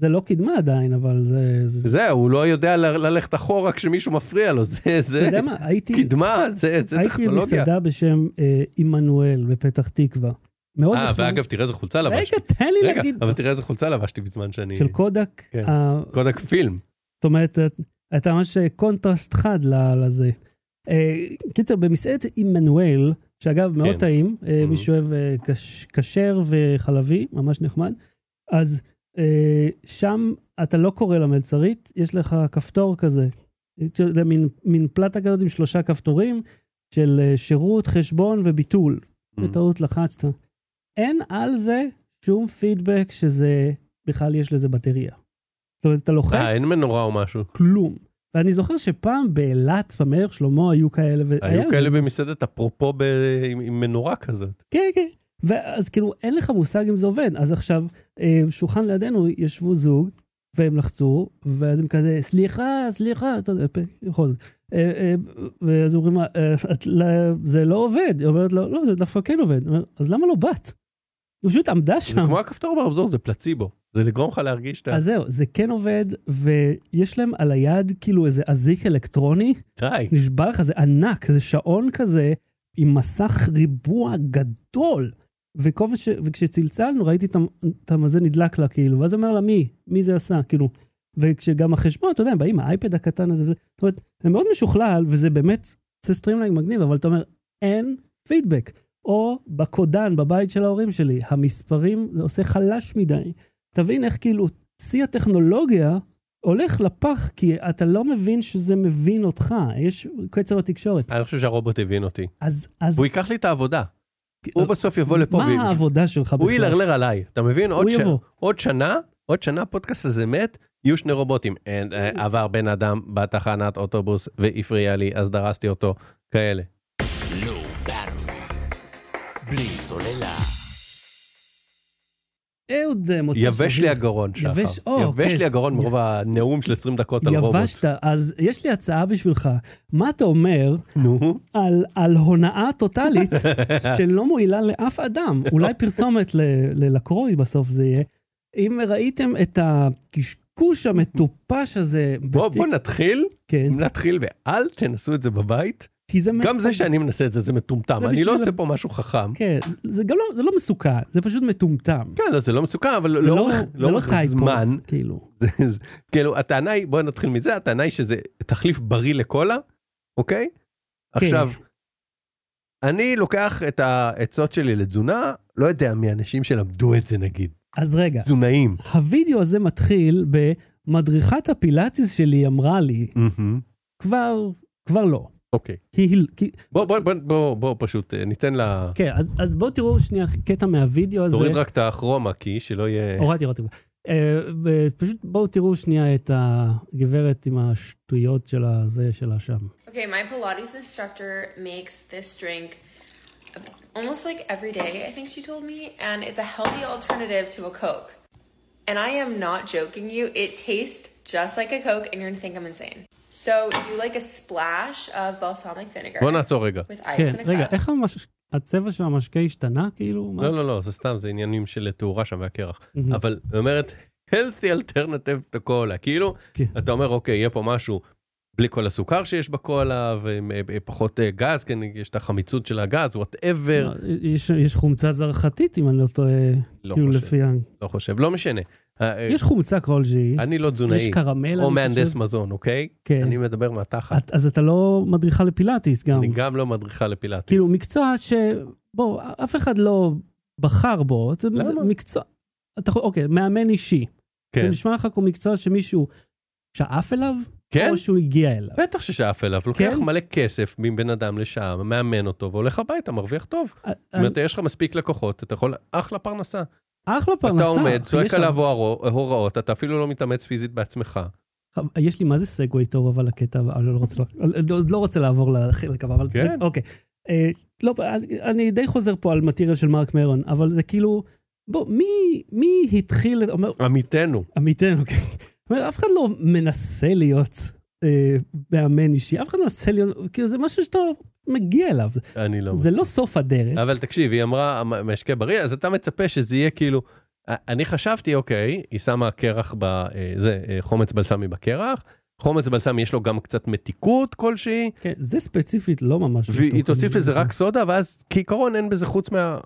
Speaker 1: זה לא קדמה עדיין, אבל זה... זה-
Speaker 2: זהו, הוא לא יודע ל- ללכת אחורה כשמישהו מפריע לו, זה,
Speaker 1: אתה
Speaker 2: זה,
Speaker 1: יודע מה, הייתי...
Speaker 2: קדמה, זה, זה
Speaker 1: הייתי
Speaker 2: טכנולוגיה.
Speaker 1: במסעדה בשם אה, עמנואל בפתח תקווה, מאוד
Speaker 2: אה,
Speaker 1: נחמד.
Speaker 2: ואגב, תראה איזה חולצה לבשתי.
Speaker 1: רגע, תן לי
Speaker 2: רגע,
Speaker 1: להגיד.
Speaker 2: אבל תראה איזה חולצה לבשתי בזמן שאני...
Speaker 1: של קודק,
Speaker 2: כן.
Speaker 1: ה-
Speaker 2: קודק פילם.
Speaker 1: זאת אומרת, אתה ממש קונטרסט חד ל- לזה. אה, קיצר, במסעדת עמנואל, שאגב, מאוד
Speaker 2: כן.
Speaker 1: טעים, אה,
Speaker 2: Mhm.
Speaker 1: מי שאוהב אה, כש- כשר וחלבי, ממש נחמד, אז אה, שם אתה לא קורא למלצרית, יש לך כפתור כזה. אתה יודע, מין- מין פלטה כזאת עם שלושה כפתורים של אה, שירות, חשבון וביטול.
Speaker 2: Mm-hmm.
Speaker 1: בטעות לחצת. אין על זה שום פידבק שזה, בכלל יש לזה בטריה. זאת אומרת, אתה לוחץ,
Speaker 2: אה, אין מנורה או משהו.
Speaker 1: כלום. ואני זוכר שפעם באילת במלך שלמה היו כאלה, והיה
Speaker 2: היו
Speaker 1: זה.
Speaker 2: כאלה במסעדת אפרופו ב- עם- עם מנורה כזאת.
Speaker 1: כן, כן. ואז כאילו, אין לך מושג אם זה עובד. אז עכשיו, אה, שולחן לידינו, ישבו זוג, והם לחצו, ואז הם כזה, סליחה, סליחה, אתה יודע, פ- בכל זאת. אה, אה, ואז אומרים, לה, "אה, את לא- זה לא עובד. היא אומרת לו, לא, זה דווקא כן עובד. היא אומרת, אז למה לא באת? היא פשוט עמדה
Speaker 2: זה
Speaker 1: שם.
Speaker 2: כמו הכפתור ברמזור, זה פלציבו. זה לגרום לך להרגיש את ה...
Speaker 1: אז זהו, זה כן עובד, ויש להם על היד כאילו איזה אזיק אלקטרוני,
Speaker 2: די.
Speaker 1: נשבע לך, זה ענק, זה שעון כזה עם מסך ריבוע גדול. וכל מה ש... וכשצלצלנו, ראיתי את המ- את המזה נדלק לה, כאילו, ואז אומר לה, מי? מי זה עשה? כאילו, וכשגם החשבון, אתה יודע, הם באים, האייפד הקטן הזה, וזה, זאת אומרת, זה מאוד משוכלל, וזה באמת, זה סטרימליינג מגניב, אבל אתה אומר, אין פידבק. או בקודן, בבית של ההורים שלי, המספרים, זה עושה חלש מדי. תבין איך כאילו, שיא הטכנולוגיה הולך לפח, כי אתה לא מבין שזה מבין אותך, יש קצר התקשורת.
Speaker 2: אני חושב שהרובוט הבין אותי.
Speaker 1: אז, אז,
Speaker 2: הוא ייקח לי את העבודה. הוא בסוף יבוא לפה.
Speaker 1: מה
Speaker 2: ו-
Speaker 1: העבודה שלך
Speaker 2: הוא
Speaker 1: בכלל?
Speaker 2: ילרלר עליי, אתה מבין? עוד
Speaker 1: הוא
Speaker 2: ש-
Speaker 1: יבוא.
Speaker 2: עוד שנה, עוד שנה הפודקאסט הזה מת, יהיו שני רובוטים. אין, אה, עבר בן אדם בתחנת אוטובוס והפריע לי, אז דרסתי אותו, כאלה.
Speaker 3: Low Battery, בלי סוללה.
Speaker 1: אהוד אה, מוצא
Speaker 2: יבש
Speaker 1: סביר.
Speaker 2: לי הגרון, שחר.
Speaker 1: יבש- או,
Speaker 2: יבש
Speaker 1: כן.
Speaker 2: לי הגרון מרוב הנאום של 20 דקות על רובוט.
Speaker 1: יבשת, אז יש לי הצעה בשבילך. מה אתה אומר
Speaker 2: נו,
Speaker 1: על, על הונאה
Speaker 2: *laughs*
Speaker 1: טוטאלית שלא מועילה לאף אדם? אולי פרסומת ל- ללקרוי בסוף זה יהיה. אם ראיתם את הקשקוש המטופש הזה,
Speaker 2: בוא
Speaker 1: בטי-
Speaker 2: בוא נתחיל,
Speaker 1: כן,
Speaker 2: נתחיל ואל תנסו את זה בבית.
Speaker 1: כי זה
Speaker 2: גם זה
Speaker 1: מפגר.
Speaker 2: שאני מנסה את זה, זה מטומטם.
Speaker 1: זה
Speaker 2: אני לא
Speaker 1: בשביל-
Speaker 2: עושה פה משהו חכם.
Speaker 1: כן, זה גם לא, זה לא מסוכן, זה פשוט מטומטם.
Speaker 2: כן, לא, זה לא מצוקה, אבל
Speaker 1: זה לא,
Speaker 2: לאורך
Speaker 1: זה לא
Speaker 2: לאורך זמן,
Speaker 1: טייפורס, כאילו.
Speaker 2: זה- זה- כאילו הטענה היא בוא נתחיל מזה הטענה היא שזה תחליף בריא לקולה אוקיי
Speaker 1: כן.
Speaker 2: עכשיו אני לוקח את העצות שלי לתזונה לא יודע מי האנשים שלמדו את זה נגיד
Speaker 1: אז רגע,
Speaker 2: תזונאים.
Speaker 1: הווידאו הזה מתחיל במדריכת הפילאטיס שלי אמרה לי, כבר, כבר לא.
Speaker 2: אוקיי
Speaker 1: היא, הל- כי,
Speaker 2: בוא בוא בוא בוא בוא פשוט אה, ניתן לה
Speaker 1: כן, אז, אה, אז בואו תראו שנייה קטע מהווידאו הזה.
Speaker 2: תוריד רק את הכרומה כי שלא יהיה
Speaker 1: הורדתי, הורדתי. אה, ב- פשוט בואו תראו שנייה את הגברת עם השטויות של הזה שלה שם.
Speaker 4: Okay, my Pilates instructor makes this drink almost like every day, I think she told me, and it's a healthy alternative to a Coke. And I am not joking you, it tastes just like a Coke, and you're gonna think I'm insane. So, do like a splash of balsamic vinegar
Speaker 2: בוא נעצור רגע
Speaker 4: with ice
Speaker 1: כן,
Speaker 4: in a
Speaker 1: רגע,
Speaker 4: cup.
Speaker 1: איך המש... הצבע של המשקה השתנה, כאילו? מה?
Speaker 2: לא לא לא זה סתם זה עניינים של תאורה שם והקרח אבל היא אומרת healthy alternative to cola כאילו
Speaker 1: כן.
Speaker 2: אתה אומר אוקיי יהיה פה משהו בלי כל הסוכר שיש בקולה ופחות אה, גז כן יש את החמיצות של הגז
Speaker 1: לא.
Speaker 2: וואטאבר
Speaker 1: יש, יש חומצה זרחתית, אם אני לא טועה,
Speaker 2: לא
Speaker 1: כאילו
Speaker 2: חושב.
Speaker 1: לפי... ה-
Speaker 2: לא חושב לא משנה. אה, אה,
Speaker 1: יש חומצה כלשהי.
Speaker 2: אני לא
Speaker 1: יש
Speaker 2: תזונאי
Speaker 1: קרמל,
Speaker 2: או
Speaker 1: אני
Speaker 2: מהנדס
Speaker 1: חושב.
Speaker 2: מזון אוקיי
Speaker 1: כן.
Speaker 2: אני מדבר מהתחת
Speaker 1: את- אז אתה לא מדריכה לפילאטיס גם.
Speaker 2: אני גם לא מדריכה לפילאטיס.
Speaker 1: כאילו, מקצוע ש... בוא, אף אחד לא בחר בו. זה
Speaker 2: למה?
Speaker 1: זה מקצוע... אתה יכול- אוקיי, מאמן אישי.
Speaker 2: כן.
Speaker 1: זה נשמע לך כמו מקצוע שמישהו שאף אליו,
Speaker 2: כן?
Speaker 1: או שהוא הגיע אליו.
Speaker 2: בטח ששאף אליו לוקח
Speaker 1: כן?
Speaker 2: מלא כסף מבן אדם לשעה מאמן אותו והולך הביתה מרוויח טוב.
Speaker 1: אה,
Speaker 2: זאת אומרת יש לך מספיק לקוחות אתה יכול אחלה פרנסה.
Speaker 1: אחלה פרנסה.
Speaker 2: אתה עומד,
Speaker 1: אחי,
Speaker 2: צועק
Speaker 1: יש
Speaker 2: עליו הורו- הוראות, אתה אפילו לא מתאמץ פיזית בעצמך.
Speaker 1: לך- יש לי מה זה סגווי טוב, אבל הקטע, אבל אני לא רוצה, לא- עוד לא רוצה לעבור לחלק הבא, אבל
Speaker 2: כן.
Speaker 1: אוקיי. אה, לא, אני- אני די חוזר פה על מטריאל של מרק מרון, אבל זה כאילו, בוא, מי- מי התחיל, את- אומר,
Speaker 2: עמיתנו.
Speaker 1: עמיתנו, כן. זאת אומרת, אף אחד לא מנסה להיות אה, מאמן אישי, אף אחד לא מנסה להיות, כאילו זה משהו שאתה מגיע אליו.
Speaker 2: אני לא...
Speaker 1: זה לא סוף הדרך.
Speaker 2: אבל תקשיב, היא אמרה "המ- משקה בריא, אז אתה מצפה שזה יהיה כאילו... א- אני חשבתי, אוקיי, היא שמה קרח ב... אה, זה, אה, חומץ בלסמי בקרח, חומץ בלסמי יש לו גם קצת מתיקות כלשהי,
Speaker 1: כן, זה ספציפית לא ממש...
Speaker 2: והיא
Speaker 1: בטוח.
Speaker 2: תוסיף לזה רק סודה, ואז כעיקרון אין בזה חוץ מה...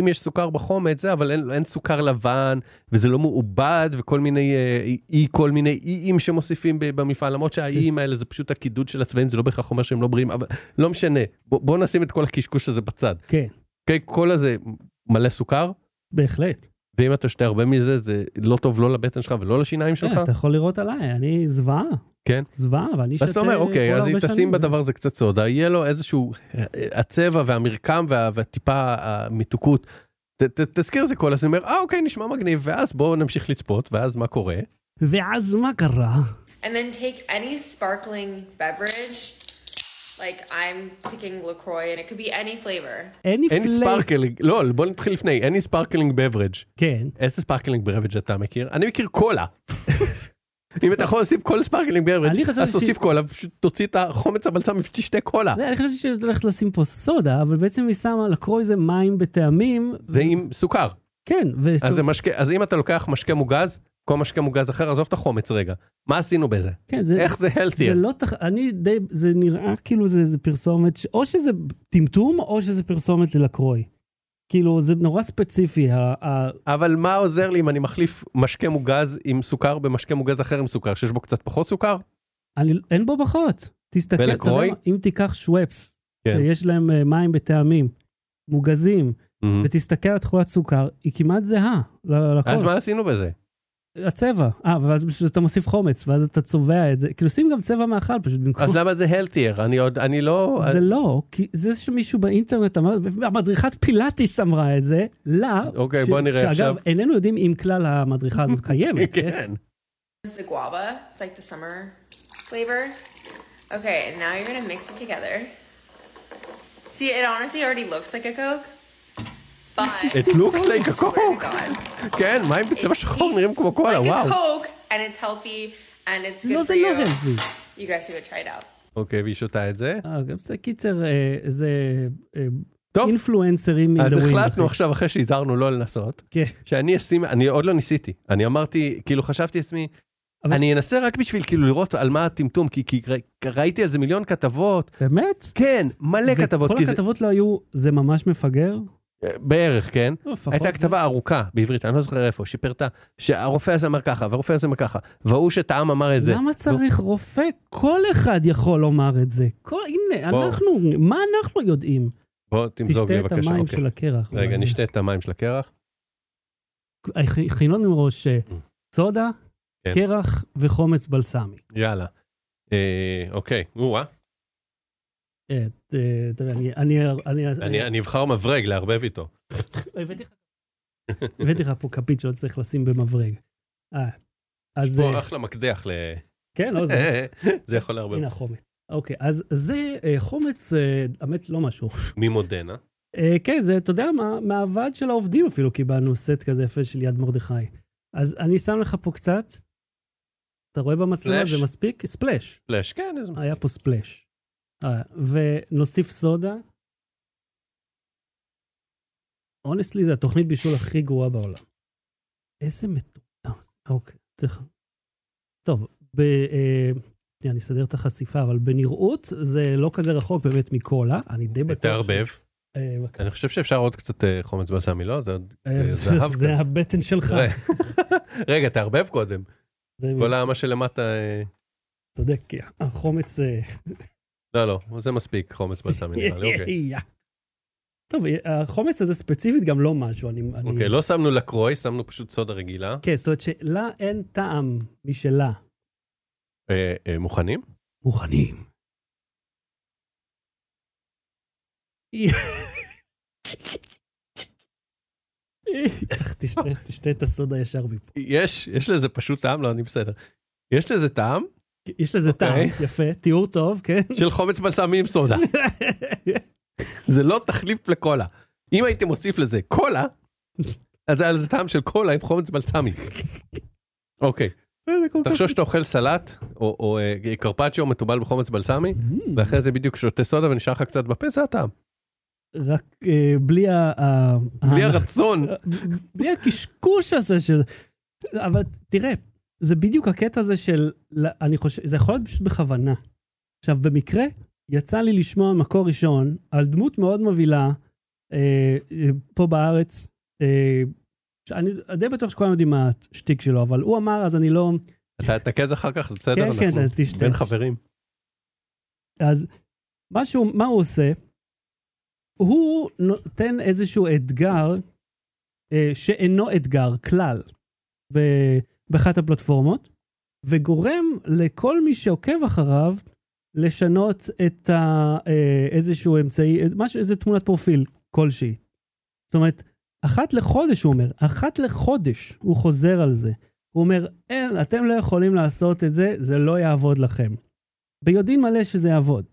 Speaker 2: אם יש סוכר בחומץ, זה, אבל אין, אין סוכר לבן, וזה לא מעובד, וכל מיני אה, אי, כל מיני איים שמוסיפים ב- במפעל,
Speaker 1: כן.
Speaker 2: למרות שהאיים האלה זה פשוט הקידוד של הצבעים, זה לא בהכרח אומר שהם לא בריאים, אבל לא משנה. בוא, בוא נשים את כל הקשקוש הזה בצד.
Speaker 1: כן,
Speaker 2: אוקיי, כל הזה מלא סוכר,
Speaker 1: בהחלט.
Speaker 2: ואם אתה שותה הרבה מזה, זה לא טוב לא לבטן שלך ולא לשיניים שלך.
Speaker 1: אה, אתה יכול לראות עליי, אני זוועה.
Speaker 2: כן.
Speaker 1: זוועה, אבל אני שותה
Speaker 2: ואז אתה אומר, אוקיי,
Speaker 1: כל
Speaker 2: אז היא
Speaker 1: הרבה
Speaker 2: תשים
Speaker 1: שנים."
Speaker 2: בדבר הזה קצת סודה, יהיה לו איזשהו, אה, הצבע והמרקם וה- והטיפה אה, המתוקות. ת- ת- תזכיר את זה כל הזמן, אומר, אה, אוקיי, נשמע מגניב, ואז בואו נמשיך לצפות, ואז מה קורה?
Speaker 1: ואז מה קרה?
Speaker 4: And then take any sparkling beverage. Like I'm picking LaCroix and it could be any flavor.
Speaker 1: any
Speaker 2: אין
Speaker 1: flavor.
Speaker 2: ספארקלינג, לא, בוא נתחיל לפני, אין ספארקלינג בברג'.
Speaker 1: כן.
Speaker 2: איזה ספארקלינג בברג' אתה מכיר? אני מכיר
Speaker 1: *laughs*
Speaker 2: קולה. אם אתה יכול להוסיף כל ספארקלינג
Speaker 1: אני
Speaker 2: בברג',
Speaker 1: חשבתי
Speaker 2: אז
Speaker 1: ש-
Speaker 2: תוסיף קולה, ופשוט תוציא את החומץ הבלצמי ותשתה קולה.
Speaker 1: זה, אני חשבתי שהיא הולכת לשים פה סודה, אבל בעצם היא שמה לקרוא איזה מים בטעמים.
Speaker 2: זה עם סוכר.
Speaker 1: כן, ו...
Speaker 2: אז זה משקה, אז אם אתה לוקח משקה מוגז, כל משקה מוגז אחר, עזוב את החומץ רגע. מה עשינו בזה?
Speaker 1: כן, זה...
Speaker 2: איך זה
Speaker 1: זה
Speaker 2: הלטייר?
Speaker 1: לא תח... אני די... זה נראה כאילו זה, זה פרסומת, ש... או שזה טמטום, או שזה פרסומת ללקרוי. כאילו, זה נורא ספציפי, ה... ה...
Speaker 2: אבל מה עוזר לי אם אני מחליף משקה מוגז עם סוכר במשקה מוגז אחר עם סוכר, שיש בו קצת פחות סוכר?
Speaker 1: אני... אין בו פחות. תסתכל, אתה יודע
Speaker 2: ולקרוי?
Speaker 1: מה? אם תיקח שוואפס,
Speaker 2: כן. Mm.
Speaker 1: שיש להם אה, מים בטעמים, מוגזים, ותסתכל על תכולת סוכר, היא כמעט זהה ל- לכל.
Speaker 2: אז מה עשינו *laughs* בזה?
Speaker 1: הצבע. אה, ואז בשביל זה אתה מוסיף חומץ, ואז אתה צובע את זה. כאילו, שים גם צבע מאכל פשוט במקום...
Speaker 2: אז למה זה הלטייר? אני עוד, אני לא...
Speaker 1: זה לא, כי זה שמישהו באינטרנט אמר, המדריכת פילאטיס אמרה את זה, לה,
Speaker 2: אוקיי, בוא נראה
Speaker 1: שאגב,
Speaker 2: עכשיו.
Speaker 1: איננו יודעים אם כלל המדריכה
Speaker 2: *laughs*
Speaker 1: הזאת קיימת.
Speaker 2: כן.
Speaker 4: It's the guava. It's like the summer flavor. Okay, and now you're gonna mix it together. See, it honestly already looks like a Coke, but
Speaker 2: It looks like a
Speaker 4: Swear to
Speaker 2: coke.
Speaker 4: God.
Speaker 2: כן, מים בצבע שחור נראים כמו קולה,
Speaker 4: like a
Speaker 2: וואו.
Speaker 4: Coke, and it's healthy, and it's good
Speaker 1: לא,
Speaker 4: for
Speaker 1: זה לא
Speaker 4: you.
Speaker 1: רמזי.
Speaker 4: You guys should try it out.
Speaker 2: אוקיי, והיא שותה את זה.
Speaker 1: אה, גם זה קיצר, אה, זה אה,
Speaker 2: טוב,
Speaker 1: אינפלואנסרים
Speaker 2: אז
Speaker 1: מדברים.
Speaker 2: החלטנו עכשיו, אחרי שהזהרנו לא לנסות,
Speaker 1: כן.
Speaker 2: שאני אשים, אני עוד לא ניסיתי. אני אמרתי, כאילו חשבתי לעצמי,
Speaker 1: אבל-
Speaker 2: אני אנסה רק בשביל כאילו לראות על מה הטמטום, כי כי ר- ראיתי על זה מיליון כתבות.
Speaker 1: באמת?
Speaker 2: כן, מלא כתבות.
Speaker 1: וכל
Speaker 2: כי זה-
Speaker 1: הכתבות לא היו, זה ממש מפגר?
Speaker 2: בערך, כן.
Speaker 1: לא, לפחות
Speaker 2: הייתה
Speaker 1: זה-
Speaker 2: כתבה ארוכה בעברית, אני לא זוכר איפה, שפירטה, שהרופא הזה אמר ככה, והרופא הזה אמר ככה, וההוא שטעם אמר את זה.
Speaker 1: למה צריך רופא? כל אחד יכול לומר את זה. כל, הנה,
Speaker 2: בוא.
Speaker 1: אנחנו, מה אנחנו יודעים?
Speaker 2: בוא תמזוג
Speaker 1: תשתה
Speaker 2: לי
Speaker 1: את
Speaker 2: בבקשה.
Speaker 1: המים
Speaker 2: אוקיי.
Speaker 1: של הקרח. אה,
Speaker 2: רגע,
Speaker 1: אולי.
Speaker 2: נשתה את המים של הקרח.
Speaker 1: הכ- הכינו מראש אה, סודה,
Speaker 2: Mm. כן.
Speaker 1: קרח וחומץ בלסמי.
Speaker 2: יאללה. אה, אוקיי, או-אה.
Speaker 1: אה, אה, תראה, אני- אני... אני- אה,
Speaker 2: אני- אני אבחר מברג לערבב איתו.
Speaker 1: הבאתי לך- הבאתי לך פה כפית שעוד צריך לשים במברג. אה, אז... אה,
Speaker 2: פה אה, אחלה מקדח ל...
Speaker 1: כן, לא, זה...
Speaker 2: *laughs* זה יכול לערבב.
Speaker 1: הנה החומץ. אוקיי, אז זה אה, חומץ, אה, האמת, לא משהו. *laughs*
Speaker 2: ממודנה.
Speaker 1: אה, כן, זה, אתה יודע מה, מהוועד של העובדים אפילו קיבלנו סט כזה יפה של יד מרדכי. אז אני שם לך פה קצת, אתה רואה במצלמה,
Speaker 2: סלאש?
Speaker 1: זה מספיק? ספלאש.
Speaker 2: פלאש, כן, איזה מספיק.
Speaker 1: היה פה ספלאש. אה, ונוסיף סודה. אונסטלי, זו התוכנית בישול הכי גרועה בעולם. איזה מטומטם. אוקיי, צריך... טוב, ב... אה, שנייה, אני אסדר את החשיפה, אבל בנראות זה לא כזה רחוק באמת מקולה, אני די בטוח.
Speaker 2: תערבב.
Speaker 1: אה, בבקשה.
Speaker 2: אני חושב שאפשר עוד קצת אה, חומץ בסמי, לא?
Speaker 1: *laughs*
Speaker 2: זה עוד
Speaker 1: אה,
Speaker 2: אה,
Speaker 1: זה-
Speaker 2: זהב.
Speaker 1: זה
Speaker 2: כזה. אה,
Speaker 1: הבטן שלך.
Speaker 2: רגע, תערבב קודם.
Speaker 1: כן. זה
Speaker 2: כל מה שלמטה... אה,
Speaker 1: צודק, כי החומץ... אה,
Speaker 2: לא, לא, זה מספיק
Speaker 1: *laughs*
Speaker 2: חומץ בלסמי נראה לי, אוקיי.
Speaker 1: טוב, אה, החומץ הזה ספציפית גם לא משהו, אני... אני-
Speaker 2: אוקיי, לא שמנו לקרוי, שמנו פשוט סודה רגילה.
Speaker 1: כן, זאת אומרת שלה אין טעם משלה.
Speaker 2: אה, אה, מוכנים?
Speaker 1: מוכנים. קח, *laughs* תשתה, תשתה את הסודה ישר מפה.
Speaker 2: יש, יש לזה פשוט טעם, לא, אני בסדר. יש לזה טעם
Speaker 1: יש לזה טעם,
Speaker 2: אוקיי.
Speaker 1: יפה, תיאור טוב, כן?
Speaker 2: של חומץ בלסמי עם סודה. זה לא תחליף לקולה. אם הייתי מוסיף לזה קולה, אז היה לזה טעם של קולה עם חומץ בלסמי. אוקיי,
Speaker 1: זה כל כך-
Speaker 2: תחשוב שאתה אוכל סלט, או- או אה, קרפצ'יו מתובל בחומץ בלסמי, ואחרי זה בדיוק שותה סודה ונשאר לך קצת בפה, זה הטעם.
Speaker 1: רק אה, בלי ה... ה-
Speaker 2: בלי
Speaker 1: ה-
Speaker 2: הרצון.
Speaker 1: בלי הקשקוש הזה של... אבל תראה, זה בדיוק הקטע הזה של... אני חושב, זה יכול להיות פשוט בכוונה. עכשיו, במקרה, יצא לי לשמוע מקור ראשון על דמות מאוד מובילה אה, אה, פה בארץ, אה, אני די בטוח שכולם יודעים מה השטיק שלו, אבל הוא אמר, אז אני לא...
Speaker 2: אתה תתקז אחר כך, זה בסדר?
Speaker 1: כן, כן,
Speaker 2: אנחנו
Speaker 1: אתה תשתה.
Speaker 2: בין חברים.
Speaker 1: אז מה, שהוא, מה הוא עושה? הוא נותן איזשהו אתגר אה, שאינו אתגר כלל ב- באחת הפלטפורמות, וגורם לכל מי שעוקב אחריו לשנות את ה, אה, איזשהו אמצעי, איזה- משהו, איזה תמונת פרופיל כלשהי. זאת אומרת, אחת לחודש, הוא אומר, אחת לחודש הוא חוזר על זה. הוא אומר, אין, אתם לא יכולים לעשות את זה, זה לא יעבוד לכם. ביודעין מלא שזה יעבוד.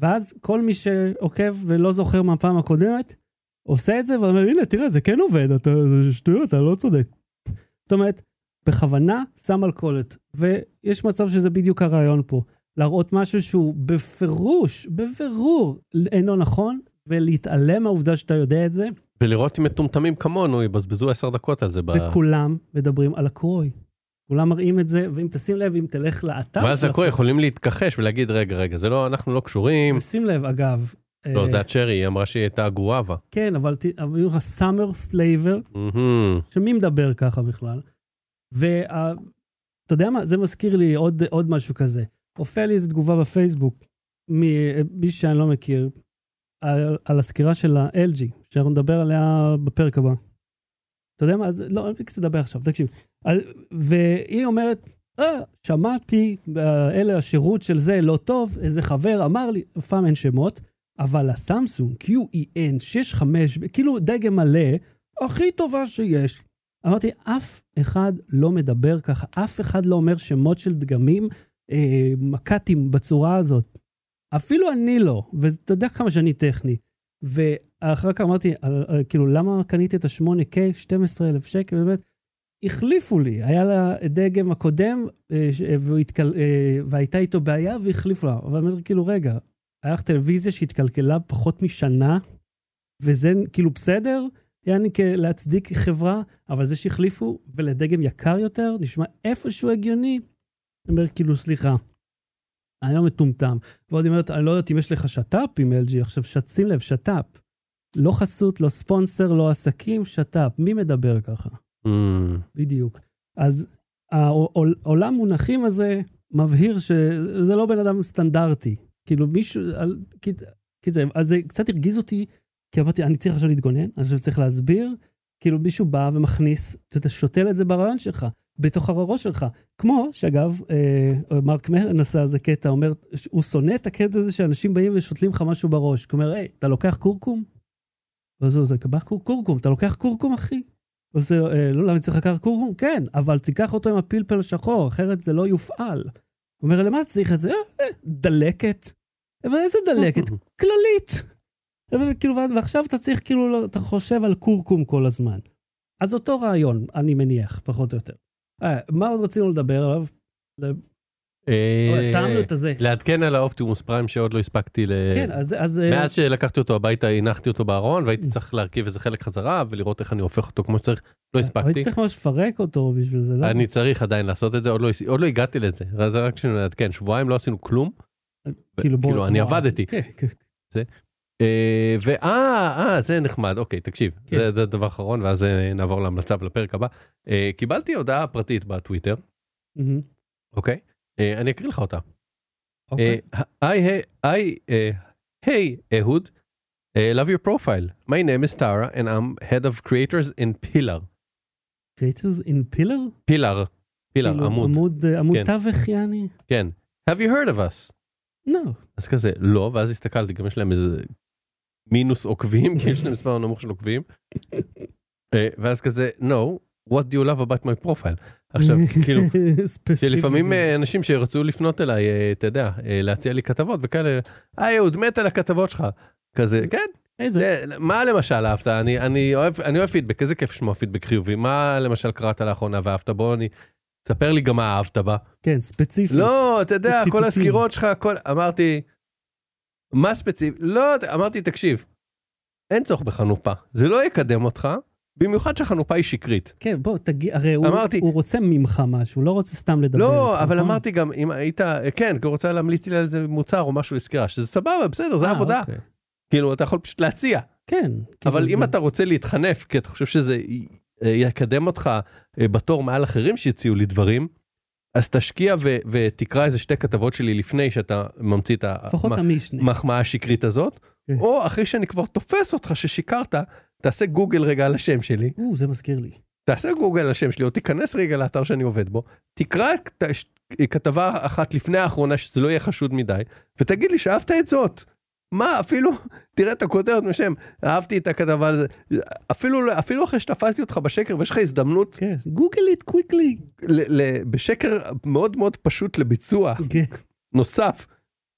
Speaker 1: ואז כל מי שעוקב ולא זוכר מהפעם הקודמת, עושה את זה ואומר, הנה, תראה, זה כן עובד, אתה, זה שטויות, אתה לא צודק. זאת אומרת, בכוונה שם על קולת, ויש מצב שזה בדיוק הרעיון פה, להראות משהו שהוא בפירוש, בבירור, אינו נכון, ולהתעלם מהעובדה שאתה יודע את זה,
Speaker 2: ולראות אם מטומטמים כמונו יבזבזו עשר דקות על זה. ב-
Speaker 1: וכולם מדברים על הקרוי. כולם מראים את זה, ואם תשים לב, אם תלך לאתר
Speaker 2: ואז
Speaker 1: של
Speaker 2: הכל יכולים להתכחש ולהגיד, רגע, רגע, זה לא, אנחנו לא קשורים.
Speaker 1: תשים לב, אגב,
Speaker 2: לא,
Speaker 1: אה,
Speaker 2: זה הצ'רי, היא אמרה שהיא הייתה גואבה.
Speaker 1: כן, אבל ת- אבל היו לך סאמר פלייבר,
Speaker 2: מהמם.
Speaker 1: שמי מדבר ככה בכלל? ואתה יודע מה, זה מזכיר לי עוד, עוד משהו כזה. הופיע לי איזו תגובה בפייסבוק, ממישהו שאני לא מכיר, על, על הסקירה של ה-LG, שאנחנו נדבר עליה בפרק הבא. אתה יודע מה, אז לא, אני קצת לדבר עכשיו, תקשיב. אז- והיא אומרת, אה, שמעתי, אה, אלה השירות של זה לא טוב, איזה חבר אמר לי, אף פעם אין שמות, אבל E הסמסונג QEN 65, כאילו דגם מלא, הכי טובה שיש. אמרתי, אף אחד לא מדבר ככה, אף אחד לא אומר שמות של דגמים אה, מק"טים בצורה הזאת. אפילו אני לא, ואתה יודע כמה שאני טכני. ואחר כך אמרתי, "אה, אה, כאילו, למה קניתי את ה-8K, 12,000 שקל, באמת? החליפו לי, היה לה דגם הקודם, אה, ש- אה, והוא התקל- אה, והייתה איתו בעיה, והחליפו לה. אבל אני אומר, כאילו, רגע, היה לך טלוויזיה שהתקלקלה פחות משנה, וזה כאילו בסדר? יעני להצדיק חברה, אבל זה שהחליפו ולדגם יקר יותר, נשמע איפשהו הגיוני. אני אומר, כאילו, סליחה, אני לא מטומטם. ועוד היא אומרת, אני לא יודעת אם יש לך שת"פ עם LG, עכשיו, שת- שים לב, שת"פ. לא חסות, לא ספונסר, לא עסקים, שת"פ. מי מדבר ככה?
Speaker 2: מהמם.
Speaker 1: בדיוק. אז העולם מונחים הזה מבהיר שזה לא בן אדם סטנדרטי. כאילו מישהו, על- כי- כי זה- אז זה קצת הרגיז אותי, כי אמרתי, אני צריך עכשיו להתגונן, אני עכשיו צריך להסביר. כאילו מישהו בא ומכניס, אתה יודע, שותל את זה ברעיון שלך, בתוך הראש שלך. כמו שאגב, אה, מרק מהרן עשה איזה קטע, אומר, הוא שונא את הקטע הזה שאנשים באים ושותלים לך משהו בראש. כלומר, היי, אתה לוקח קורקום? ואז הוא עושה, "קבח קור- קורקום, אתה לוקח קורקום, אחי? עושה, אה, לא, למה צריך לקחת קורקום? כן, אבל תיקח אותו עם הפלפל השחור, אחרת זה לא יופעל. הוא אומר, למה צריך את זה? "אה, אה, דלקת. אבל איזה דלקת? כללית. וכאילו, ואז- ועכשיו אתה צריך, כאילו, לא- אתה חושב על קורקום כל הזמן. אז אותו רעיון, אני מניח, פחות או יותר. אה, מה עוד רצינו לדבר עליו?
Speaker 2: אה,
Speaker 1: אבל סתמנו את הזה.
Speaker 2: לעדכן על האופטימוס פריים שעוד לא הספקתי ל...
Speaker 1: כן, אז... אז אה,
Speaker 2: מאז שלקחתי אותו הביתה, הנחתי אותו בארון, והייתי צריך להרכיב איזה חלק חזרה, ולראות איך אני הופך אותו כמו שצריך. לא
Speaker 1: אבל
Speaker 2: הספקתי.
Speaker 1: צריך ממש לפרק אותו בשביל זה, לא?
Speaker 2: אני צריך עדיין לעשות את זה, עוד לא הס- עוד לא הגעתי לזה. זה רק שנעדכן, שבועיים לא עשינו כלום.
Speaker 1: אה, בוא-
Speaker 2: כאילו, אני
Speaker 1: בוא-
Speaker 2: עבדתי.
Speaker 1: כן, כן.
Speaker 2: אה, ואה, אה, זה נחמד, אוקיי, תקשיב,
Speaker 1: כן.
Speaker 2: זה, זה דבר אחרון, ואז אה, נעבור להמלצה ולפרק הבא. אה, קיבלתי הודעה פרטית בטוויטר,
Speaker 1: מהמם.
Speaker 2: אוקיי? אה, אני אקריא לך אותה.
Speaker 1: אוקיי.
Speaker 2: Uh, I, I, uh, hey, Ehud, uh, love your profile. My name is Tara, and I'm head of creators in Pillar.
Speaker 1: Creators in pillar?
Speaker 2: Pillar, Pillar,
Speaker 1: כאילו,
Speaker 2: עמוד,
Speaker 1: עמוד, אה, עמוד
Speaker 2: כן.
Speaker 1: תווך, יעני?
Speaker 2: כן. Have you heard of us?
Speaker 1: לא.
Speaker 2: אז כזה, לא, ואז הסתכלתי, גם יש להם איזה מינוס עוקבים, *laughs* כי יש להם מספר נמוך של עוקבים. אה, ואז כזה, no, what do you love about my profile?
Speaker 1: *laughs*
Speaker 2: עכשיו, כאילו,
Speaker 1: ספציפית.
Speaker 2: שלפעמים אה, אנשים שרצו לפנות אליי, אה, אתה יודע, אה, להציע לי כתבות וכאלה, אה, אהוד, מת על הכתבות שלך. כזה, כן,
Speaker 1: איזה...
Speaker 2: זה, מה למשל אהבת? אני, אני, אוהב, אני אוהב פידבק, איזה כיף לשמוע פידבק חיובי. מה למשל קראת לאחרונה ואהבת בו? אני... ספר לי גם מה אהבת בה.
Speaker 1: כן, ספציפית.
Speaker 2: לא, אתה יודע, כל
Speaker 1: ציטוטים.
Speaker 2: הסקירות שלך, כל... אמרתי, מה ספציפי? לא, ת- אמרתי, תקשיב, אין צורך בחנופה, זה לא יקדם אותך, במיוחד שהחנופה היא שקרית.
Speaker 1: כן, בוא, תגיד, הרי הוא,
Speaker 2: אמרתי-
Speaker 1: הוא רוצה ממך משהו, לא רוצה סתם לדבר.
Speaker 2: לא,
Speaker 1: איתך,
Speaker 2: אבל
Speaker 1: נכון?
Speaker 2: אמרתי גם, אם היית, כן, כי הוא רוצה להמליץ לי על איזה מוצר או משהו לסקירה, שזה סבבה, בסדר, זה
Speaker 1: אה,
Speaker 2: עבודה.
Speaker 1: אוקיי.
Speaker 2: כאילו, אתה יכול פשוט להציע,
Speaker 1: כן.
Speaker 2: אבל
Speaker 1: כאילו
Speaker 2: אם
Speaker 1: זה-
Speaker 2: אתה רוצה להתחנף, כי אתה חושב שזה י- יקדם אותך אה, בתור מעל אחרים שהציעו לי דברים, אז תשקיע ו- ותקרא איזה שתי כתבות שלי לפני שאתה ממציא את
Speaker 1: לפחות
Speaker 2: המחמאה
Speaker 1: המשנה.
Speaker 2: השקרית הזאת,
Speaker 1: כן.
Speaker 2: או אחרי שאני כבר תופס אותך ששיקרת, תעשה גוגל רגע על השם שלי,
Speaker 1: או, זה מזכיר לי.
Speaker 2: תעשה גוגל על השם שלי, או תיכנס רגע לאתר שאני עובד בו, תקרא את הש- כתבה אחת לפני האחרונה, שזה לא יהיה חשוד מדי, ותגיד לי שאהבת את זאת. מה, אפילו, *laughs* תראה את הכותרת משם, אהבתי את הכתבה הזאת. אפילו, לא- אפילו אחרי שתפסתי אותך בשקר, ויש לך הזדמנות
Speaker 1: כן. גוגל איט קוויקלי.
Speaker 2: ל, ל, בשקר מאוד מאוד פשוט לביצוע
Speaker 1: כן.
Speaker 2: נוסף,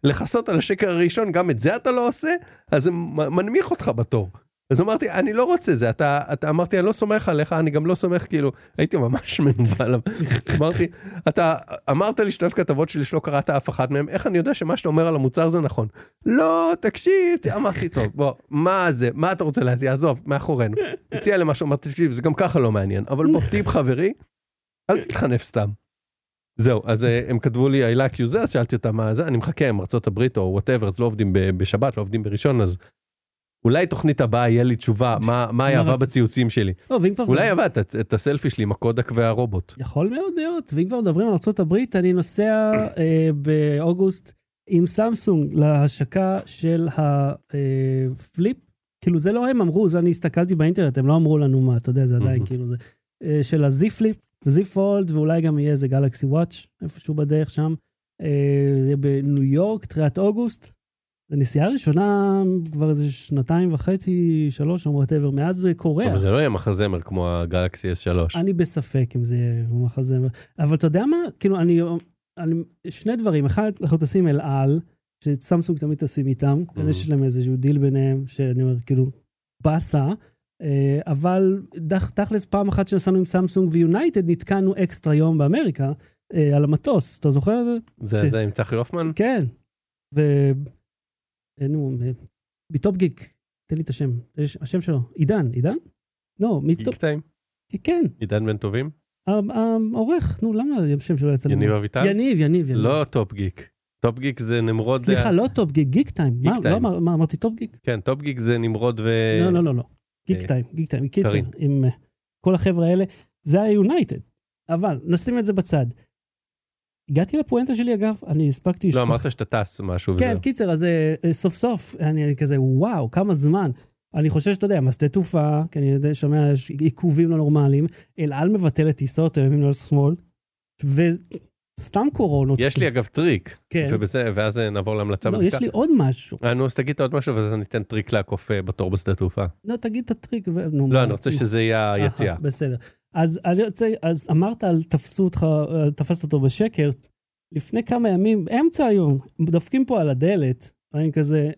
Speaker 2: לכסות על השקר הראשון, גם את זה אתה לא עושה, אז זה מ- מנמיך אותך בתור. אז אמרתי, אני לא רוצה זה, אתה, אתה אמרתי, אני לא סומך עליך, אני גם לא סומך, כאילו, הייתי ממש *laughs* מנוול. אמרתי, אתה אמרת לי שאתה אוהב כתבות שלי שלא קראת אף אחת מהן, איך אני יודע שמה שאתה אומר על המוצר זה נכון? לא, תקשיב, אמרתי, טוב, בוא, מה זה, מה אתה רוצה להציע, עזוב, מאחורינו. הציע לי משהו, אמרתי, תקשיב, זה גם ככה לא מעניין, אבל בוא, טיפ חברי, אל תתחנף סתם. זהו, אז אה, הם כתבו לי, I like you זה, אז שאלתי אותם מה זה, אני מחכה עם ארצות הברית או וואטאבר, אז לא עובדים ב- בשבת, לא עובדים בראשון, אז אולי תוכנית הבאה יהיה לי תשובה, מה- מה היא אהבה
Speaker 1: רצית?
Speaker 2: בציוצים שלי.
Speaker 1: טוב, לא, ואם כבר...
Speaker 2: אולי אהבה את- את הסלפי שלי עם הקודק והרובוט.
Speaker 1: יכול מאוד להיות, ואם כבר מדברים על ארה"ב, אני נוסע אה, באוגוסט עם סמסונג להשקה של הפליפ. כאילו זה לא הם אמרו, זה אני הסתכלתי באינטרנט, הם לא אמרו לנו מה, אתה יודע, זה עדיין
Speaker 2: Mhm.
Speaker 1: כאילו זה. אה, של הזי פליפ, זי פולד, ואולי גם יהיה איזה גלקסי וואץ', איפשהו בדרך שם. אה, זה בניו יורק, תחילת אוגוסט. זו נסיעה ראשונה כבר איזה שנתיים וחצי, שלוש, או וואטאבר, מאז זה קורה.
Speaker 2: אבל זה לא יהיה מחזמר כמו הגלקסי S3.
Speaker 1: אוקיי. אני בספק אם זה יהיה מחזמר. אבל אתה יודע מה? כאילו, אני... אני שני דברים. אחד, אנחנו טסים אל על, שסמסונג תמיד טסים איתם. כנראה שיש להם איזשהו דיל ביניהם, שאני אומר, כאילו, באסה. אה, אבל דח, תכלס, פעם אחת שנסענו עם סמסונג ויונייטד, נתקענו אקסטרה יום באמריקה אה, על המטוס. אתה זוכר את זה?
Speaker 2: זה זה עם צחי הופמן?
Speaker 1: כן. ו... אה, נו, אה, מטופ גיק, תן לי את השם. יש- השם שלו. עידן, עידן? לא, מטופ...
Speaker 2: גיק טיים?
Speaker 1: כן.
Speaker 2: עידן בן טובים?
Speaker 1: ה- העורך, נו, למה השם שלו יצא לי?
Speaker 2: יניב אביטל?
Speaker 1: יניב, יניב, יניב.
Speaker 2: לא טופ גיק. טופ גיק זה נמרוד...
Speaker 1: כן. סליחה, לא טופ גיק, גיק טיים. מה,
Speaker 2: גיק
Speaker 1: לא
Speaker 2: טיים.
Speaker 1: אמר- מה, אמרתי טופ גיק?
Speaker 2: כן, טופ גיק זה נמרוד ו...
Speaker 1: לא, לא, לא, לא. גיק
Speaker 2: אה,
Speaker 1: טיים, גיק טיים. קיצר,
Speaker 2: קרין.
Speaker 1: עם אה, כל החבר'ה האלה, זה היה יונייטד. אבל, נשים את זה בצד. הגעתי לפואנטה שלי, אגב, אני הספקתי...
Speaker 2: לא,
Speaker 1: לשכוח.
Speaker 2: אמרת שאתה טס משהו
Speaker 1: כן,
Speaker 2: וזהו.
Speaker 1: קיצר, אז אה, אה, סוף סוף, אני אני כזה, וואו, כמה זמן. אני חושב שאתה יודע, מהשדה תעופה, כי אני יודע, שומע, יש עיכובים לא נורמליים, אל על מבטלת טיסות, אל ימין ואל שמאל, וסתם קורונות.
Speaker 2: יש לי אגב טריק,
Speaker 1: כן.
Speaker 2: ובזה- ואז אה, נעבור להמלצה
Speaker 1: לא, יש
Speaker 2: בדקה.
Speaker 1: לי עוד משהו.
Speaker 2: אה, נו, אז תגיד עוד משהו, ואז אני אתן טריק לעקוף אה, בתור בשדה תעופה.
Speaker 1: לא, תגיד את הטריק. ו- נו,
Speaker 2: לא,
Speaker 1: מה-
Speaker 2: אני רוצה שזה יהיה
Speaker 1: אהה, *laughs*
Speaker 2: היציאה.
Speaker 1: בסדר. אז אני רוצה, אז אמרת על תפסו אותך, אה, תפסת אותו בשקר. לפני כמה ימים, אמצע היום, דופקים פה על הדלת, אני כזה,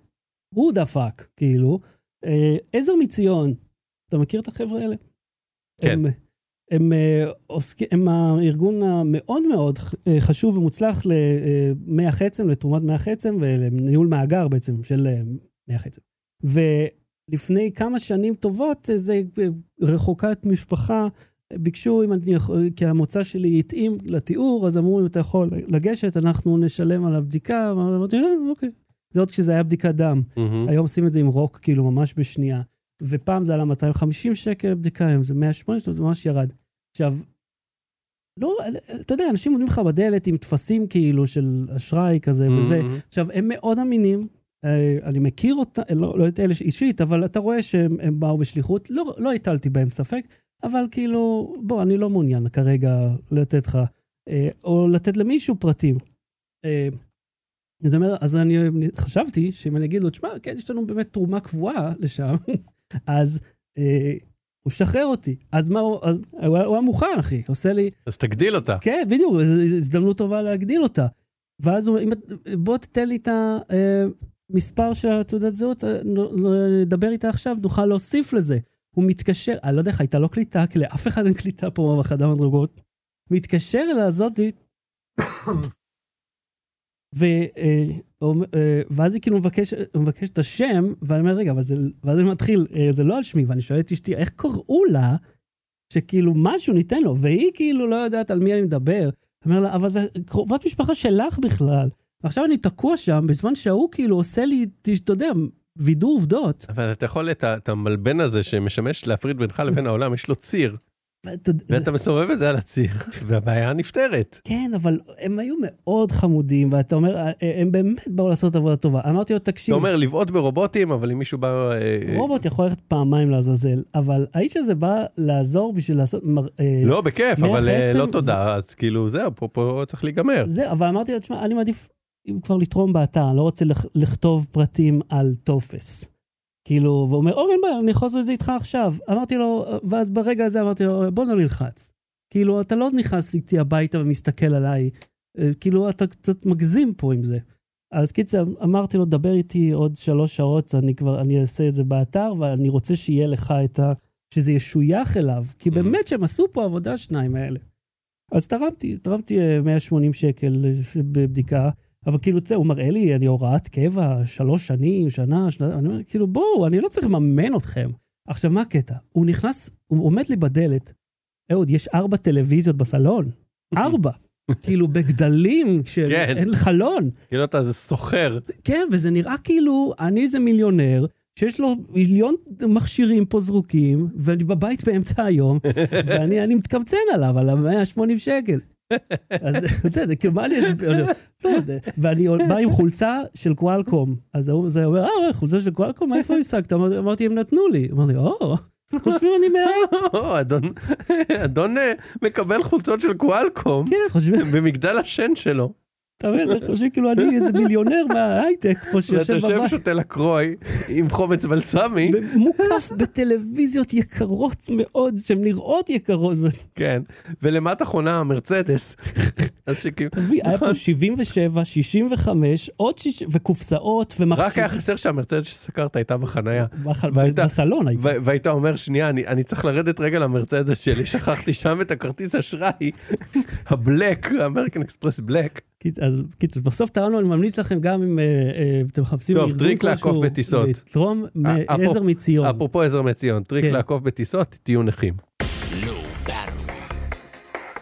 Speaker 1: הוא דפק, כאילו. אה, עזר מציון, אתה מכיר את החבר'ה האלה?
Speaker 2: כן.
Speaker 1: הם, הם, אה, עוסק, הם הארגון המאוד מאוד אה, חשוב ומוצלח למח עצם, לתרומת מח עצם ולניהול מאגר בעצם של אה, מח עצם. ולפני כמה שנים טובות, איזה אה, רחוקת משפחה, אה, ביקשו, אם אני יכול, כי המוצא שלי התאים לתיאור, אז אמרו, אם אתה יכול לגשת, אנחנו נשלם על הבדיקה. אמרתי, "אה, אוקיי. זה עוד כשזה היה בדיקת דם.
Speaker 2: מהמם.
Speaker 1: היום עושים את זה עם רוק, כאילו, ממש בשנייה. ופעם זה עלה 250 שקל לבדיקה, היום זה 180 שקל, זה ממש ירד. עכשיו, לא, אתה יודע, אנשים עומדים לך בדלת עם טפסים כאילו של אשראי כזה וזה.
Speaker 2: מהמם.
Speaker 1: עכשיו, הם מאוד אמינים, אה, אני מכיר אותם, לא, לא את אלה אישית, אבל אתה רואה שהם הם באו בשליחות, לא, לא הטלתי בהם ספק, אבל כאילו, בוא, אני לא מעוניין כרגע לתת לך, אה, או לתת למישהו פרטים. אה, זאת אומרת, אז אני חשבתי שאם אני אגיד לו, תשמע, כן, יש לנו באמת תרומה קבועה לשם, *laughs* אז אה, הוא שחרר אותי. אז מה הוא, אז, הוא, היה- הוא היה מוכן, אחי, עושה לי,
Speaker 2: אז תגדיל אותה.
Speaker 1: כן, בדיוק, זו זו הזדמנות טובה להגדיל אותה. ואז הוא, אם, את- בוא תתן לי את המספר של התעודת זהות, אה, נ- נ- נדבר איתה עכשיו, נוכל להוסיף לזה. הוא מתקשר, אני לא יודע איך הייתה לו קליטה, כי לאף אחד אין קליטה פה באחד המדרגות. מתקשר אל הזאתי, *coughs* ו, אה, אומר- אה, ואז היא כאילו מבקש- מבקשת את השם, ואני אומר, רגע, אבל זה, ואז אני מתחיל, אה, זה לא על שמי, ואני שואל את אשתי, איך קראו לה? שכאילו משהו ניתן לו, והיא כאילו לא יודעת על מי אני מדבר. אומר לה, אבל זה קרובת משפחה שלך בכלל. ועכשיו אני תקוע שם, בזמן שההוא כאילו עושה לי, אתה יודע, וידאו עובדות.
Speaker 2: אבל אתה יכול את ה- את המלבן הזה שמשמש להפריד בינך לבין העולם, יש לו ציר,
Speaker 1: אתה-
Speaker 2: ואתה מסובב את זה על הציר, והבעיה נפתרת.
Speaker 1: כן, אבל הם היו מאוד חמודים, ואתה אומר, "אה, הם באמת באו לעשות עבודה טובה. אמרתי לו,
Speaker 2: אתה
Speaker 1: תקשיב,
Speaker 2: אומר לבעוט ברובוטים, אבל אם מישהו בא... אה, אה,
Speaker 1: רובוט יכול ללכת פעמיים לעזאזל, אבל האיש הזה בא לעזור בשביל לעשות... מר- אה,
Speaker 2: לא, בכיף,
Speaker 1: מוח
Speaker 2: אבל אה,
Speaker 1: עצם
Speaker 2: לא
Speaker 1: זה-
Speaker 2: תודה, אז כאילו זהו, פה- פה צריך להיגמר.
Speaker 1: זה, אבל אמרתי לו, תשמע, אני מעדיף אם כבר לתרום באתר, אני לא רוצה לכ- לכתוב פרטים על טופס. כאילו, והוא אומר, אורן, אין בעיה, אני יכול לעשות את זה איתך עכשיו. אמרתי לו, ואז ברגע הזה אמרתי לו, בוא לא נלחץ. כאילו, אתה לא נכנס איתי הביתה ומסתכל עליי. אה, כאילו, אתה קצת מגזים פה עם זה. אז קיצר, אמרתי לו, דבר איתי עוד שלוש שעות, אני כבר, אני אעשה את זה באתר, אבל אני רוצה שיהיה לך את ה... שזה ישוייך אליו, כי באמת שהם עשו פה עבודה, השניים האלה. אז תרמתי, תרמתי אה, 180 שקל אה, ש- בבדיקה, אבל כאילו, אתה יודע, הוא מראה לי, אני הוראת קבע, שלוש שנים, שנה, שנה, אני אומר, כאילו, בואו, אני לא צריך לממן אתכם. עכשיו, מה הקטע? הוא נכנס, הוא עומד לי בדלת, אהוד, יש ארבע טלוויזיות בסלון, ארבע. כאילו, בגדלים,
Speaker 2: כן.
Speaker 1: כשאין חלון.
Speaker 2: כאילו אתה איזה סוחר.
Speaker 1: כן, וזה נראה כאילו אני איזה מיליונר, שיש לו מיליון מכשירים פה זרוקים, ואני בבית באמצע היום, ואני אני מתקמצן עליו, על ה-180 שקל. אז אתה יודע, זה כאילו, מה אני אסביר? לא יודע. ואני בא עם חולצה של קוואלקום. אז ההוא זה אומר, אה, חולצה של קוואלקום, איפה השגת? אמרתי- אמרתי, הם נתנו לי. אמר לי, או, חושבים אני מהעט.
Speaker 2: *laughs* או, אדון- אדון אה, מקבל חולצות של *laughs* קואלקום
Speaker 1: כן, חושבים,
Speaker 2: במגדל השן שלו.
Speaker 1: אתה מבין, זה חושבים כאילו אני איזה מיליונר מההייטק פה
Speaker 2: ואתה
Speaker 1: שיושב
Speaker 2: יושב
Speaker 1: בבית.
Speaker 2: שותה לקרוי עם חומץ בלסמי,
Speaker 1: ומוקף בטלוויזיות יקרות מאוד, שהן נראות יקרות.
Speaker 2: כן, ולמטה חונה *laughs* המרצדס. אז שכאילו,
Speaker 1: תביא, היה
Speaker 2: נכון.
Speaker 1: פה 77, 65, עוד 60, וקופסאות
Speaker 2: רק היה
Speaker 1: ומכשירים.
Speaker 2: חסר שהמרצדס שסקרת הייתה בחנייה.
Speaker 1: בחל-
Speaker 2: והייתה-
Speaker 1: בסלון הייתה.
Speaker 2: ו- והיית אומר, שנייה, אני, אני צריך לרדת רגע למרצדס שלי, שכחתי שם את הכרטיס אשראי, *laughs* הבלק, האמריקן אקספרס בלק.
Speaker 1: קיצ- אז קיצור, בסוף טענו, אני ממליץ לכם גם אם אה, אה, אתם מחפשים
Speaker 2: טוב,
Speaker 1: ארגון
Speaker 2: טריק לעקוף
Speaker 1: כלשהו,
Speaker 2: בטיסות. אה,
Speaker 1: לתרום
Speaker 2: אפרופו-
Speaker 1: מעזר מציון.
Speaker 2: אפרופו עזר מציון, טריק
Speaker 1: כן. אה,
Speaker 2: לעקוף בטיסות, תהיו נכים.
Speaker 3: לא ברור.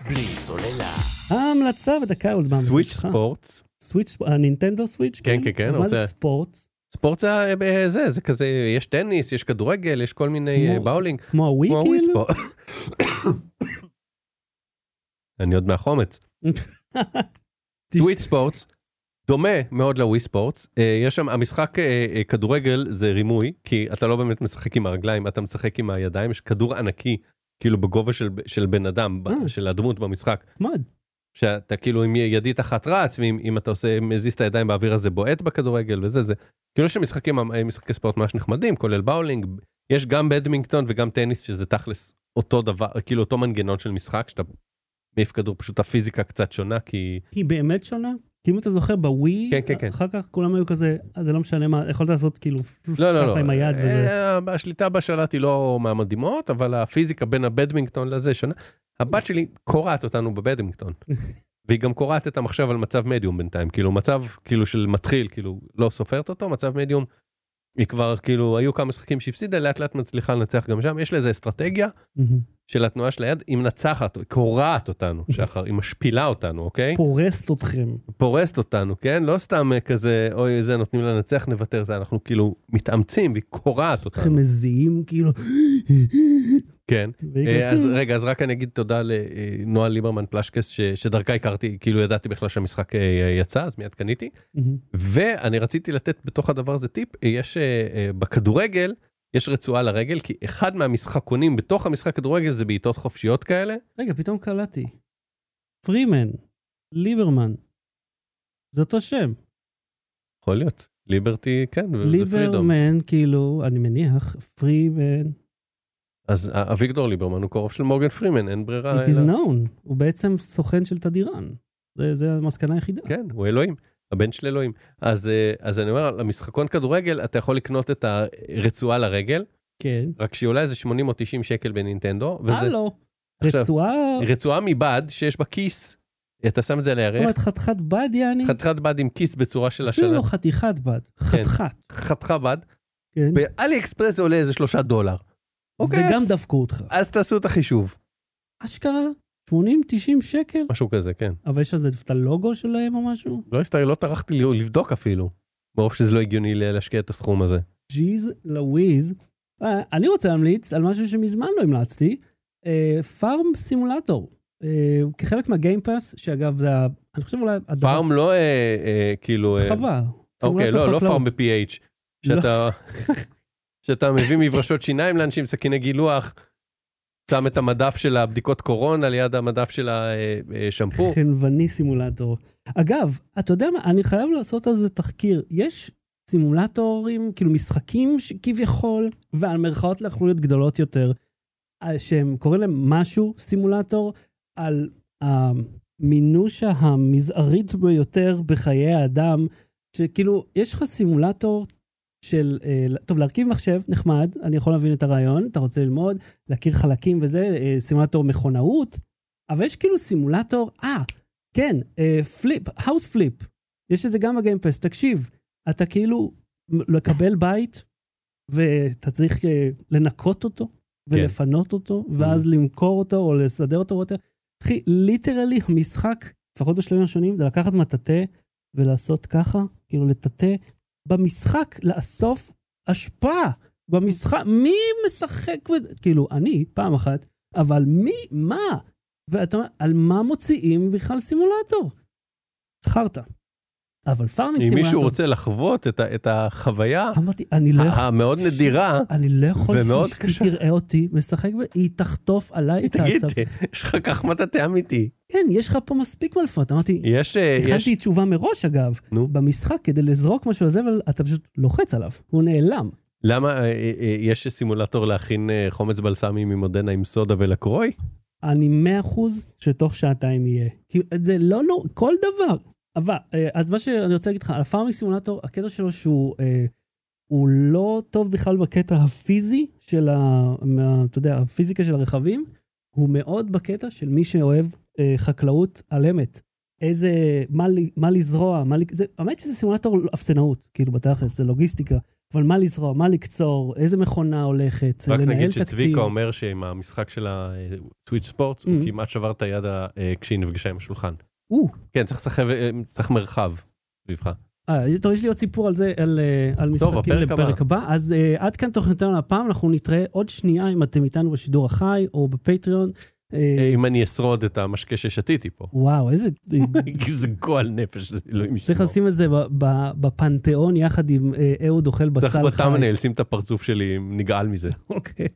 Speaker 3: בלי סוללה.
Speaker 1: ההמלצה בדקה עוד מה
Speaker 2: סוויץ'
Speaker 1: שלך?
Speaker 2: ספורטס.
Speaker 1: סוויץ', הנינטנדו סוויץ'?
Speaker 2: כן, כן, כן,
Speaker 1: אז מה
Speaker 2: רוצה-
Speaker 1: זה ספורט?
Speaker 2: ספורט זה, ה- אה, זה, זה כזה, יש טניס, יש כדורגל, יש כל מיני
Speaker 1: כמו-
Speaker 2: אה, באולינג.
Speaker 1: כמו הווי
Speaker 2: כמו הווי
Speaker 1: כאילו?
Speaker 2: ספורט. *coughs* אני עוד מהחומץ. טוויט ספורטס, דומה מאוד לווי ספורטס, אה, יש שם, המשחק אה, אה, כדורגל זה רימוי, כי אתה לא באמת משחק עם הרגליים, אתה משחק עם הידיים, יש כדור ענקי, כאילו בגובה של, של בן אדם, ב-
Speaker 1: אה.
Speaker 2: של הדמות במשחק,
Speaker 1: נחמד.
Speaker 2: שאתה כאילו עם ידית אחת רץ, ואם אם אתה עושה, מזיז את הידיים באוויר הזה בועט בכדורגל וזה, זה, כאילו יש שם משחקים, אה, משחקי ספורט ממש נחמדים, כולל באולינג, יש גם בדמינגטון וגם טניס, שזה תכלס אותו דבר, כאילו אותו מנגנון של משחק, שאתה מעיף כדור, פשוט הפיזיקה קצת שונה, כי...
Speaker 1: היא באמת שונה? כי אם אתה זוכר, בווי,
Speaker 2: כן, כן, כן.
Speaker 1: אחר כך כולם היו כזה, "אה, זה לא משנה מה, יכולת לעשות כאילו
Speaker 2: לא, לא, לא.
Speaker 1: ככה עם היד וזה.
Speaker 2: אה, השליטה בשלט היא לא מהמדהימות, אבל הפיזיקה בין הבדמינגטון לזה שונה. הבת שלי קורעת אותנו בבדמינגטון.
Speaker 1: *laughs*
Speaker 2: והיא גם קורעת את המחשב על מצב מדיום בינתיים, כאילו מצב כאילו של מתחיל, כאילו לא סופרת אותו, מצב מדיום, היא כבר כאילו היו כמה משחקים שהפסידה, לאט לאט מצליחה לנצח גם שם, יש לזה אסטרטגיה
Speaker 1: מהמם.
Speaker 2: של התנועה של היד, היא מנצחת, היא קורעת אותנו, שחר, היא משפילה אותנו, אוקיי?
Speaker 1: פורסת אתכם.
Speaker 2: פורסת אותנו, כן? לא סתם אה, כזה, אוי, זה נותנים לה לנצח, נוותר, זה אנחנו כאילו מתאמצים, והיא קורעת אותנו.
Speaker 1: אתכם מזיעים, כאילו...
Speaker 2: כן.
Speaker 1: והיא
Speaker 2: אה,
Speaker 1: כזה,
Speaker 2: אז רגע, אז רק אני אגיד תודה לנועה ליברמן פלשקס, ש- שדרכה הכרתי, כאילו ידעתי בכלל שהמשחק אה, יצא, אז מיד קניתי.
Speaker 1: מהמם.
Speaker 2: ואני רציתי לתת בתוך הדבר הזה טיפ, אה, יש אה, אה, בכדורגל, יש רצועה לרגל, כי אחד מהמשחקונים בתוך המשחק כדורגל זה בעיטות חופשיות כאלה.
Speaker 1: רגע, פתאום קלטתי. פרימן, ליברמן. זה אותו שם.
Speaker 2: אה, יכול להיות. ליברטי, כן, וזה פרידום.
Speaker 1: ליברמן, כאילו, אני מניח, פרימן,
Speaker 2: אז אה, אביגדור ליברמן הוא קרוב של מורגן פרימן, אין ברירה.
Speaker 1: it is
Speaker 2: אלא-
Speaker 1: known. הוא בעצם סוכן של תדירן. זה- זה המסקנה היחידה.
Speaker 2: כן, הוא אלוהים, הבן של אלוהים. אז, אה, אז אני אומר, למשחקון כדורגל, אתה יכול לקנות את הרצועה לרגל,
Speaker 1: כן.
Speaker 2: רק שהיא עולה איזה 80 או 90 שקל בנינטנדו, וזה
Speaker 1: הלו.
Speaker 2: עכשיו-
Speaker 1: רצועה,
Speaker 2: רצועה מבד שיש בה כיס, אתה שם את זה על
Speaker 1: זאת
Speaker 2: הירך,
Speaker 1: אומרת, חתיכת בד, יעני.
Speaker 2: חתיכת בד עם כיס בצורה של כן.
Speaker 1: אפילו
Speaker 2: השלט,
Speaker 1: לא חתיכת בד, חתיכת.
Speaker 2: חתיכה בד,
Speaker 1: כן.
Speaker 2: באלי אקספרס זה עולה איזה שלושה דולר.
Speaker 1: זה
Speaker 2: אוקיי,
Speaker 1: גם
Speaker 2: אז-
Speaker 1: דפקו אותך.
Speaker 2: אז תעשו את החישוב.
Speaker 1: אשכרה, 80-90 שקל,
Speaker 2: משהו כזה, כן.
Speaker 1: אבל יש על זה את הלוגו שלהם או משהו? נכון.
Speaker 2: לא הסתכל, לא טרחתי לבדוק אפילו, מרוב שזה לא הגיוני להשקיע את הסכום הזה.
Speaker 1: ג'יז לוויז. אה, אני רוצה להמליץ על משהו שמזמן לא המלצתי, אה, פארם סימולטור. אה, כחלק מהגיימפאס, שאגב, זה, ה- אני חושב אולי הדבר...
Speaker 2: פארם לא אה, אה, כאילו... אה,
Speaker 1: חווה.
Speaker 2: אוקיי,
Speaker 1: סימולטור
Speaker 2: לא, לא
Speaker 1: חקלאות.
Speaker 2: פארם ב-PH. שאתה שאתה מביא מברשות שיניים לאנשים, סכיני גילוח, שם את המדף של הבדיקות קורונה ליד המדף של אה,
Speaker 1: *laughs* לא
Speaker 2: השמפו.
Speaker 1: חנווני כן, סימולטור. אגב, אתה יודע מה, אני חייב לעשות על זה תחקיר. יש סימולטורים, כאילו משחקים ש- כביכול, והמרכאות לאחוריות גדולות יותר, אה, שהם קוראים להם משהו סימולטור, על המינושה המזערית ביותר בחיי האדם, שכאילו, יש לך סימולטור של, אה, טוב, להרכיב מחשב, נחמד, אני יכול להבין את הרעיון, אתה רוצה ללמוד, להכיר חלקים וזה, אה, סימולטור מכונאות, אבל יש כאילו סימולטור, אה, כן, אה, פליפ, האוס פליפ. יש את זה גם בגיימפס, תקשיב, אתה כאילו מ- לקבל בית, ואתה צריך אה, לנקות
Speaker 2: כן.
Speaker 1: אותו, ולפנות
Speaker 2: Mm-hmm.
Speaker 1: אותו, ואז למכור אותו, או לסדר אותו, ואתה... אחי, ליטרלי המשחק, לפחות בשלבים הראשונים, זה לקחת מטאטא ולעשות ככה, כאילו לטאטא, במשחק לאסוף אשפה. במשחק, מי משחק בזה? כאילו, אני, פעם אחת, אבל מי, מה? ואתה אומר, על מה מוציאים בכלל סימולטור? חרטא. אבל פארמינג
Speaker 2: אם
Speaker 1: סימולטור...
Speaker 2: מישהו רוצה לחוות את ה- את החוויה
Speaker 1: אמרתי, אני לא יכול...
Speaker 2: המאוד נדירה,
Speaker 1: אני לא יכול
Speaker 2: ומאוד
Speaker 1: שהיא
Speaker 2: קשה.
Speaker 1: תראה אותי משחק, והיא תחטוף עליי את
Speaker 2: תגיד,
Speaker 1: העצב.
Speaker 2: *laughs* יש לך כך מטאטא אמיתי.
Speaker 1: כן, יש לך פה מספיק מה לפנות. אמרתי,
Speaker 2: יש, אה, יש,
Speaker 1: הכנתי תשובה מראש, אגב.
Speaker 2: נו,
Speaker 1: במשחק, כדי לזרוק משהו לזה, אבל אתה פשוט לוחץ עליו, הוא נעלם.
Speaker 2: למה אה, אה, אה, יש סימולטור להכין אה, חומץ בלסמי ממודנה עם סודה ולקרוי?
Speaker 1: אני מאה אחוז שתוך שעתיים יהיה. כי זה לא נור... כל דבר. אבל, אה, אז מה שאני רוצה להגיד לך, על הפארמינג סימולטור, הקטע שלו שהוא אה, הוא לא טוב בכלל בקטע הפיזי של ה... מה, אתה יודע, הפיזיקה של הרכבים, הוא מאוד בקטע של מי שאוהב אה, חקלאות על אמת. איזה, מה, ל- מה לזרוע, מה, ל- זה, האמת שזה סימולטור אפסנאות, כאילו בתכלס, זה לוגיסטיקה, אבל מה לזרוע, מה לקצור, איזה מכונה הולכת,
Speaker 2: רק
Speaker 1: לנהל תקציב.
Speaker 2: נגיד שצביקה אומר שעם המשחק של הסוויץ' ספורטס, הוא
Speaker 1: Mm.
Speaker 2: כמעט שבר את היד ה- אה, כשהיא נפגשה עם השולחן.
Speaker 1: או.
Speaker 2: כן, צריך לשחק, אה, צריך מרחב סביבך.
Speaker 1: אה, טוב, יש לי עוד סיפור על זה, על, אה, על משחקים
Speaker 2: הפרק
Speaker 1: לפרק הבא. אז אה, עד כאן תוכניתנו הפעם, אנחנו נתראה עוד שנייה אם אתם איתנו בשידור החי או בפטריון. אה,
Speaker 2: אה, אם אני אשרוד את המשקה ששתיתי
Speaker 1: *laughs*
Speaker 2: פה.
Speaker 1: וואו,
Speaker 2: *laughs*
Speaker 1: איזה...
Speaker 2: כי זה גועל נפש, זה אלוהים
Speaker 1: צריך
Speaker 2: ישמור.
Speaker 1: לשים את זה ב- ב- בפנתיאון יחד עם אה, אהוד אוכל
Speaker 2: צריך
Speaker 1: בצל חי.
Speaker 2: בטאמנל, שים את הפרצוף שלי, נגעל מזה.
Speaker 1: *laughs* אוקיי.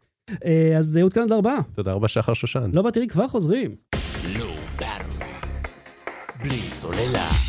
Speaker 1: אה, אז זה עודכן עד ארבעה.
Speaker 2: תודה רבה, שחר שושן.
Speaker 1: לא בתראי, כבר חוזרים.
Speaker 3: Low Battery. בלי סוללה.